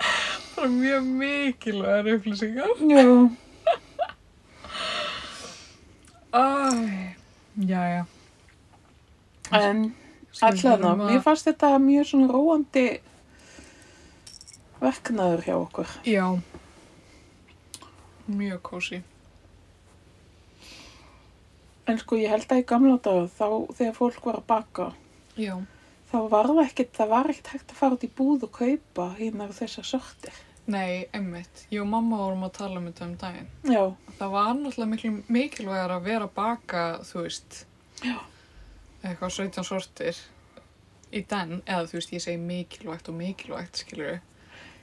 Það er mjög mikilvægar upplýsingar. Já. Æ, jæja. En allan Skal við á, förum að- mér fannst þetta mjög svona róandi verknaður hjá okkur. Já. Mjög kósi. En sko, ég held að í gamla daga þá þegar fólk var að baka, Já. þá var það ekkert, það var ekkert hægt að fara út í búð og kaupa hérna og þessar sortir. Nei, emmitt. Ég og mamma vorum að tala um þetta um daginn. Já, Það var náttúrulega miklu mikilvægar að vera að baka, þú veist, Já. eitthvað 17 sortir í den, eða þú veist, ég segi mikilvægt og mikilvægt, skilur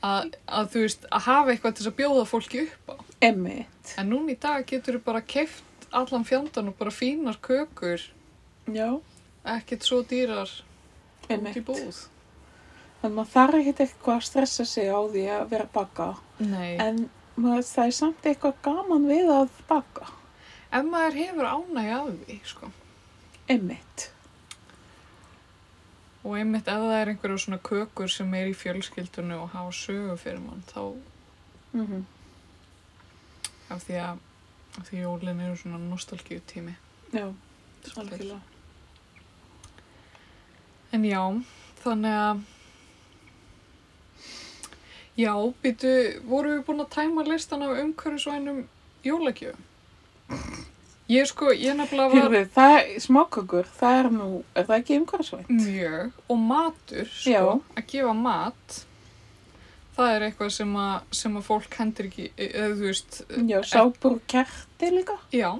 að, að þú veist, að hafa eitthvað til þess að bjóða fólki upp á. emmitt. En núna í dag getur þú bara keft allan fjandan og bara fínar kökur, Já, ekkert svo dýrar út í emmitt. búð. Þannig maður þarf ekkert eitthvað að stressa sig á því að vera að baka. Nei. En maður, það er samt eitthvað gaman við að baka. Ef maður hefur ánægja af því, sko. Emmitt. Og einmitt ef það er einhverju svona kökur sem er í fjölskyldunni og hafa sögu fyrir mann, þá Mm af því að af því að jólin eru svona nostalgíu tími Já, algjörlega. en já, þannig að já, býtu voru við búin að tæma listan af umhverfisvænum jólagjöfum ég sko, ég nefnilega var Hérfið, það er smákökur, það er nú, er það ekki umhverfisvænt? mjög og matur sko, Já. að gefa mat það er eitthvað sem að, sem að fólk hendur ekki e, eða þú veist, Já, sápur og kerti líka. Já.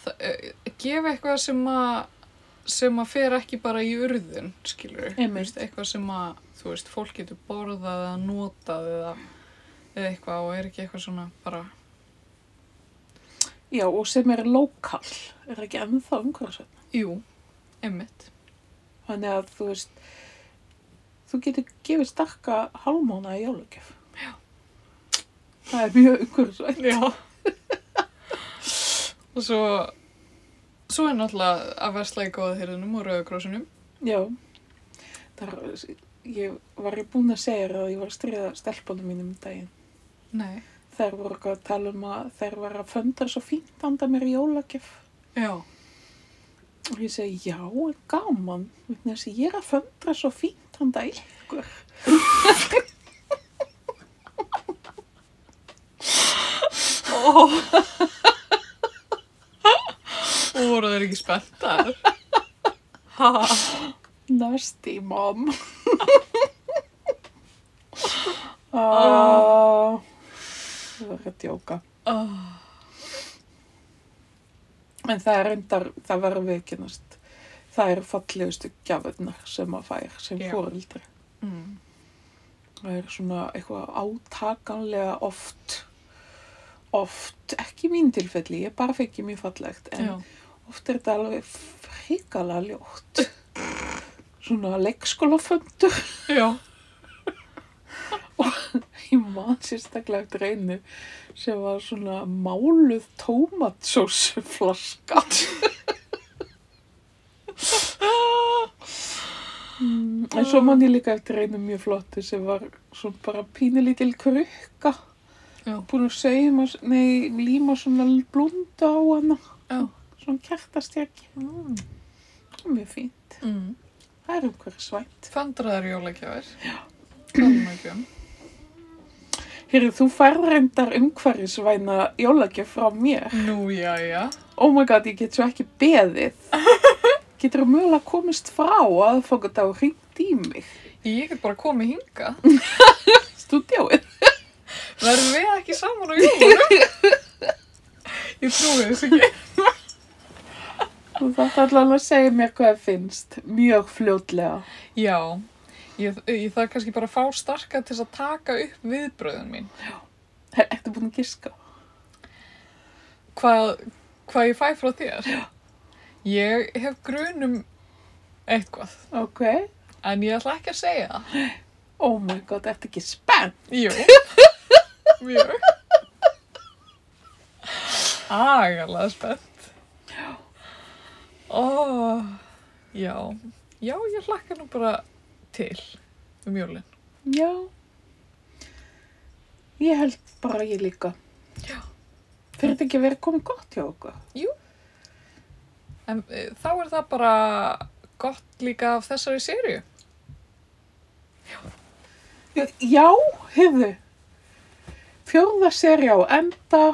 Þa, eh, gefa eitthvað sem að sem að fer ekki bara í urðun, skilur. Einmitt. Eitthvað sem að, þú veist, fólk getur borðað eða notað eða, eða eitthvað og er ekki eitthvað svona bara, Já, og sem er lokal, er ekki ennþá umhverfisvænt. jú, einmitt. Þannig að þú veist, þú getur gefið starka hálmána í jólugjöf. Já. Það er mjög umhverfisvænt. Já. [laughs] og svo, svo er náttúrulega að versla í góða þyrðinum og rauðagrósunum. Já. Það er, ég var ég búin að segja þér að ég var að stríða stelpunum mínum um daginn. Nei. Þær voru eitthvað að tala um að þær var að föndra svo fínt handa mér í jólagjöf. Já. Og ég segi, já, en gaman, vegna þess að ég er að föndra svo fínt handa ykkur. Og voru þeir ekki [laughs] spenntar. Nasty mom. [laughs] Ah, Það var að djóka. Oh. En það er reyndar, það verður viðkynast. Það eru fallegustu gjafurnar sem maður fær sem Já. fóreldri. Mm. Það er svona eitthvað átakanlega oft, oft, ekki í mín tilfelli, ég bara fekk ég mjög fallegt. En Já. Oft er þetta alveg hrikalega ljótt. Svona leikskólaföndur. Já. Ég man sérstaklega eftir einu sem var svona máluð tómatsósuflaska. Mm, En svo man ég líka eftir einu mjög flottu sem var svona bara pínulítil krukka. Já. Búin að sauma, nei, líma svona blunda á hana. Já. Svona kertastjaki. Mm. Mjög fínt. Mm. Það er umhverju svænt. Föndraðar jólagjafir. Já. Jólagjum. Hérðu, þú færð reyndar umhverfisvæna jólagjöf frá mér. Nú, já, já. Oh my god, ég get svo ekki [laughs] beðið. Getur þú mögulega komist frá að fóka þetta og hringt í mig? Ég get bara komið hinga. Stúdíóið. Verðum við ekki saman á jólunum? Ég trúi þess ekki. Þú þarf allavega að segja mér hvað það finnst. Mjög fljótlega. Já. Ég, ég þarf kannski bara að fá starka til þess að taka upp viðbröðun mín. Er- Ertu búin að giska? Hvað, hvað ég fæ frá þér? Já. Ég hef grunum eitthvað. Ok. En ég ætla ekki að segja það. Oh my god, ertu ekki spennt? Jú, mjög. Agalega spennt. Ó, já, já, ég hlakka nú bara til um jólinn. Já. Ég held bara ég líka. Já. Fyrir þetta ekki að vera komið gott hjá okkur? En e, þá er það bara gott líka af þessari sériu. Já, hefðu. Fjórða seri á enda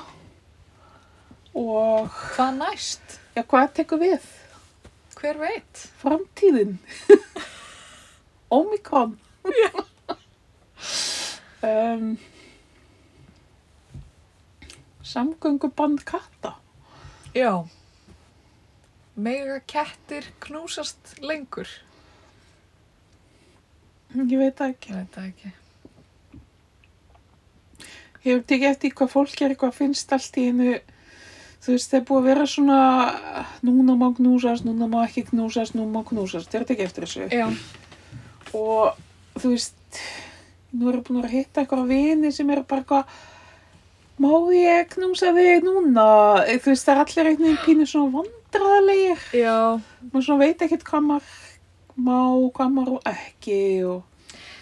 og Hvað næst? já, hvað tekur við? Hver veit? Framtíðin. Omikron. um, samgönguband katta. Já. Mega kettir knúsast lengur. Ég veit það ekki. Ég veit það ekki. Ég hef tekið eftir hvað fólk er, hvað finnst allt í einu. Þú veist, það er búið að vera svona, núna má knúsast, núna má ekki knúsast, núna má knúsast. Þeir tekið eftir þessu. Já, og þú veist nú erum búin að hitta eitthvað vini sem eru bara eitthvað má ég knúsa þig núna Eh, þú veist það er allir einhvern veginn pínu svona vandraðalegir já. maður svona veit ekkert hvað maður má, hvað maður og ekki og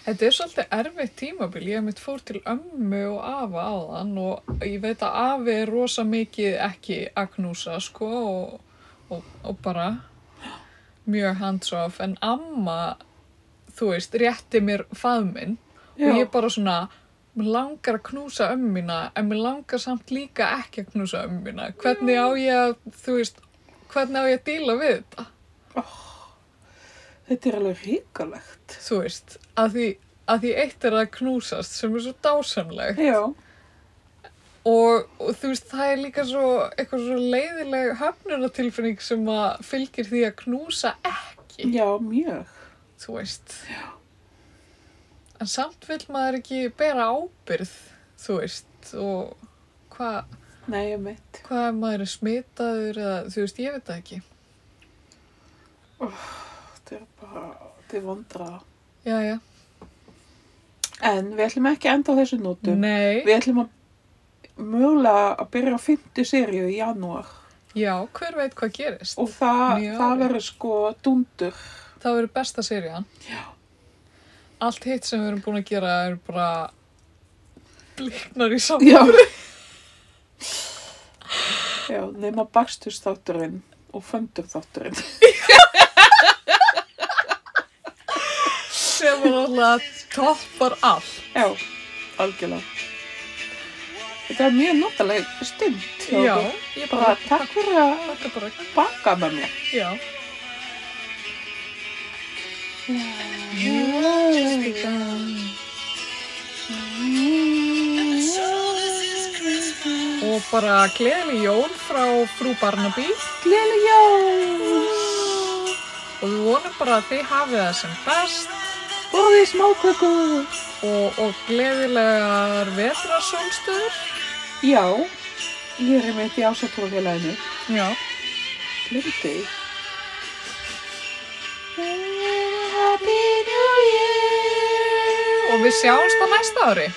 Þetta er svolítið erfitt tímabil, ég mitt fór til ömmu og afa áðan og ég veit að afi er rosa mikið ekki að knúsa sko og, og, og bara mjög hands off en amma, þú veist, rétti mér faðminn já, og ég bara svona, mér langar að knúsa ömmina en mér langar samt líka ekki að knúsa ömmina. Hvernig á ég að, þú veist, hvernig á ég að díla við þetta? þetta er alveg ríkalegt Þú veist, að því, að því eitt er að knúsast sem er svo dásamlegt. já, og, og þú veist, það er líka svo eitthvað svo leiðileg höfnunatilfinning sem að fylgir því að knúsa ekki, já, mjög þú veist. Já. En samt vill maður ekki bera ábyrð, þú veist, og hvað nei, ég mitt hva ef maður er smitaður eða, þú veist, ég veit það ekki. þetta er bara, þetta er vandraða Já, já. en við ætlum ekki að enda á þessu nótum Nei, við ætlum að mögulega að byrja á fymtu seríu í janúar já, hver veit hvað gerist. Og það, Mjög það ólíkt. verður sko dundur. [laughs] Það verður besta serían. Já. Allt hitt sem við erum búin að gera er bara bliknar í saman. Já. Já, nema bakstusþátturinn og föndurþátturinn. sem er alltaf toppar allt. Já, algjörlega. Þetta er mjög notalega stund. hjá Já, okkur. ég Bara bara, takk fyrir að þetta bara, baka með mér. já. Og bara gleðileg jól frá frú Barnaby Gleðileg jól! og við vonum bara að þið hafið það sem best Borðið smákökur! og, og gleðilegar vetrarsólstöður. Já, ég er einmitt í ásatúrfélaginu. Já. Glimti. Happy New Year! Og við sjáumst á næsta ári.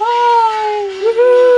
Bye! Woohoo!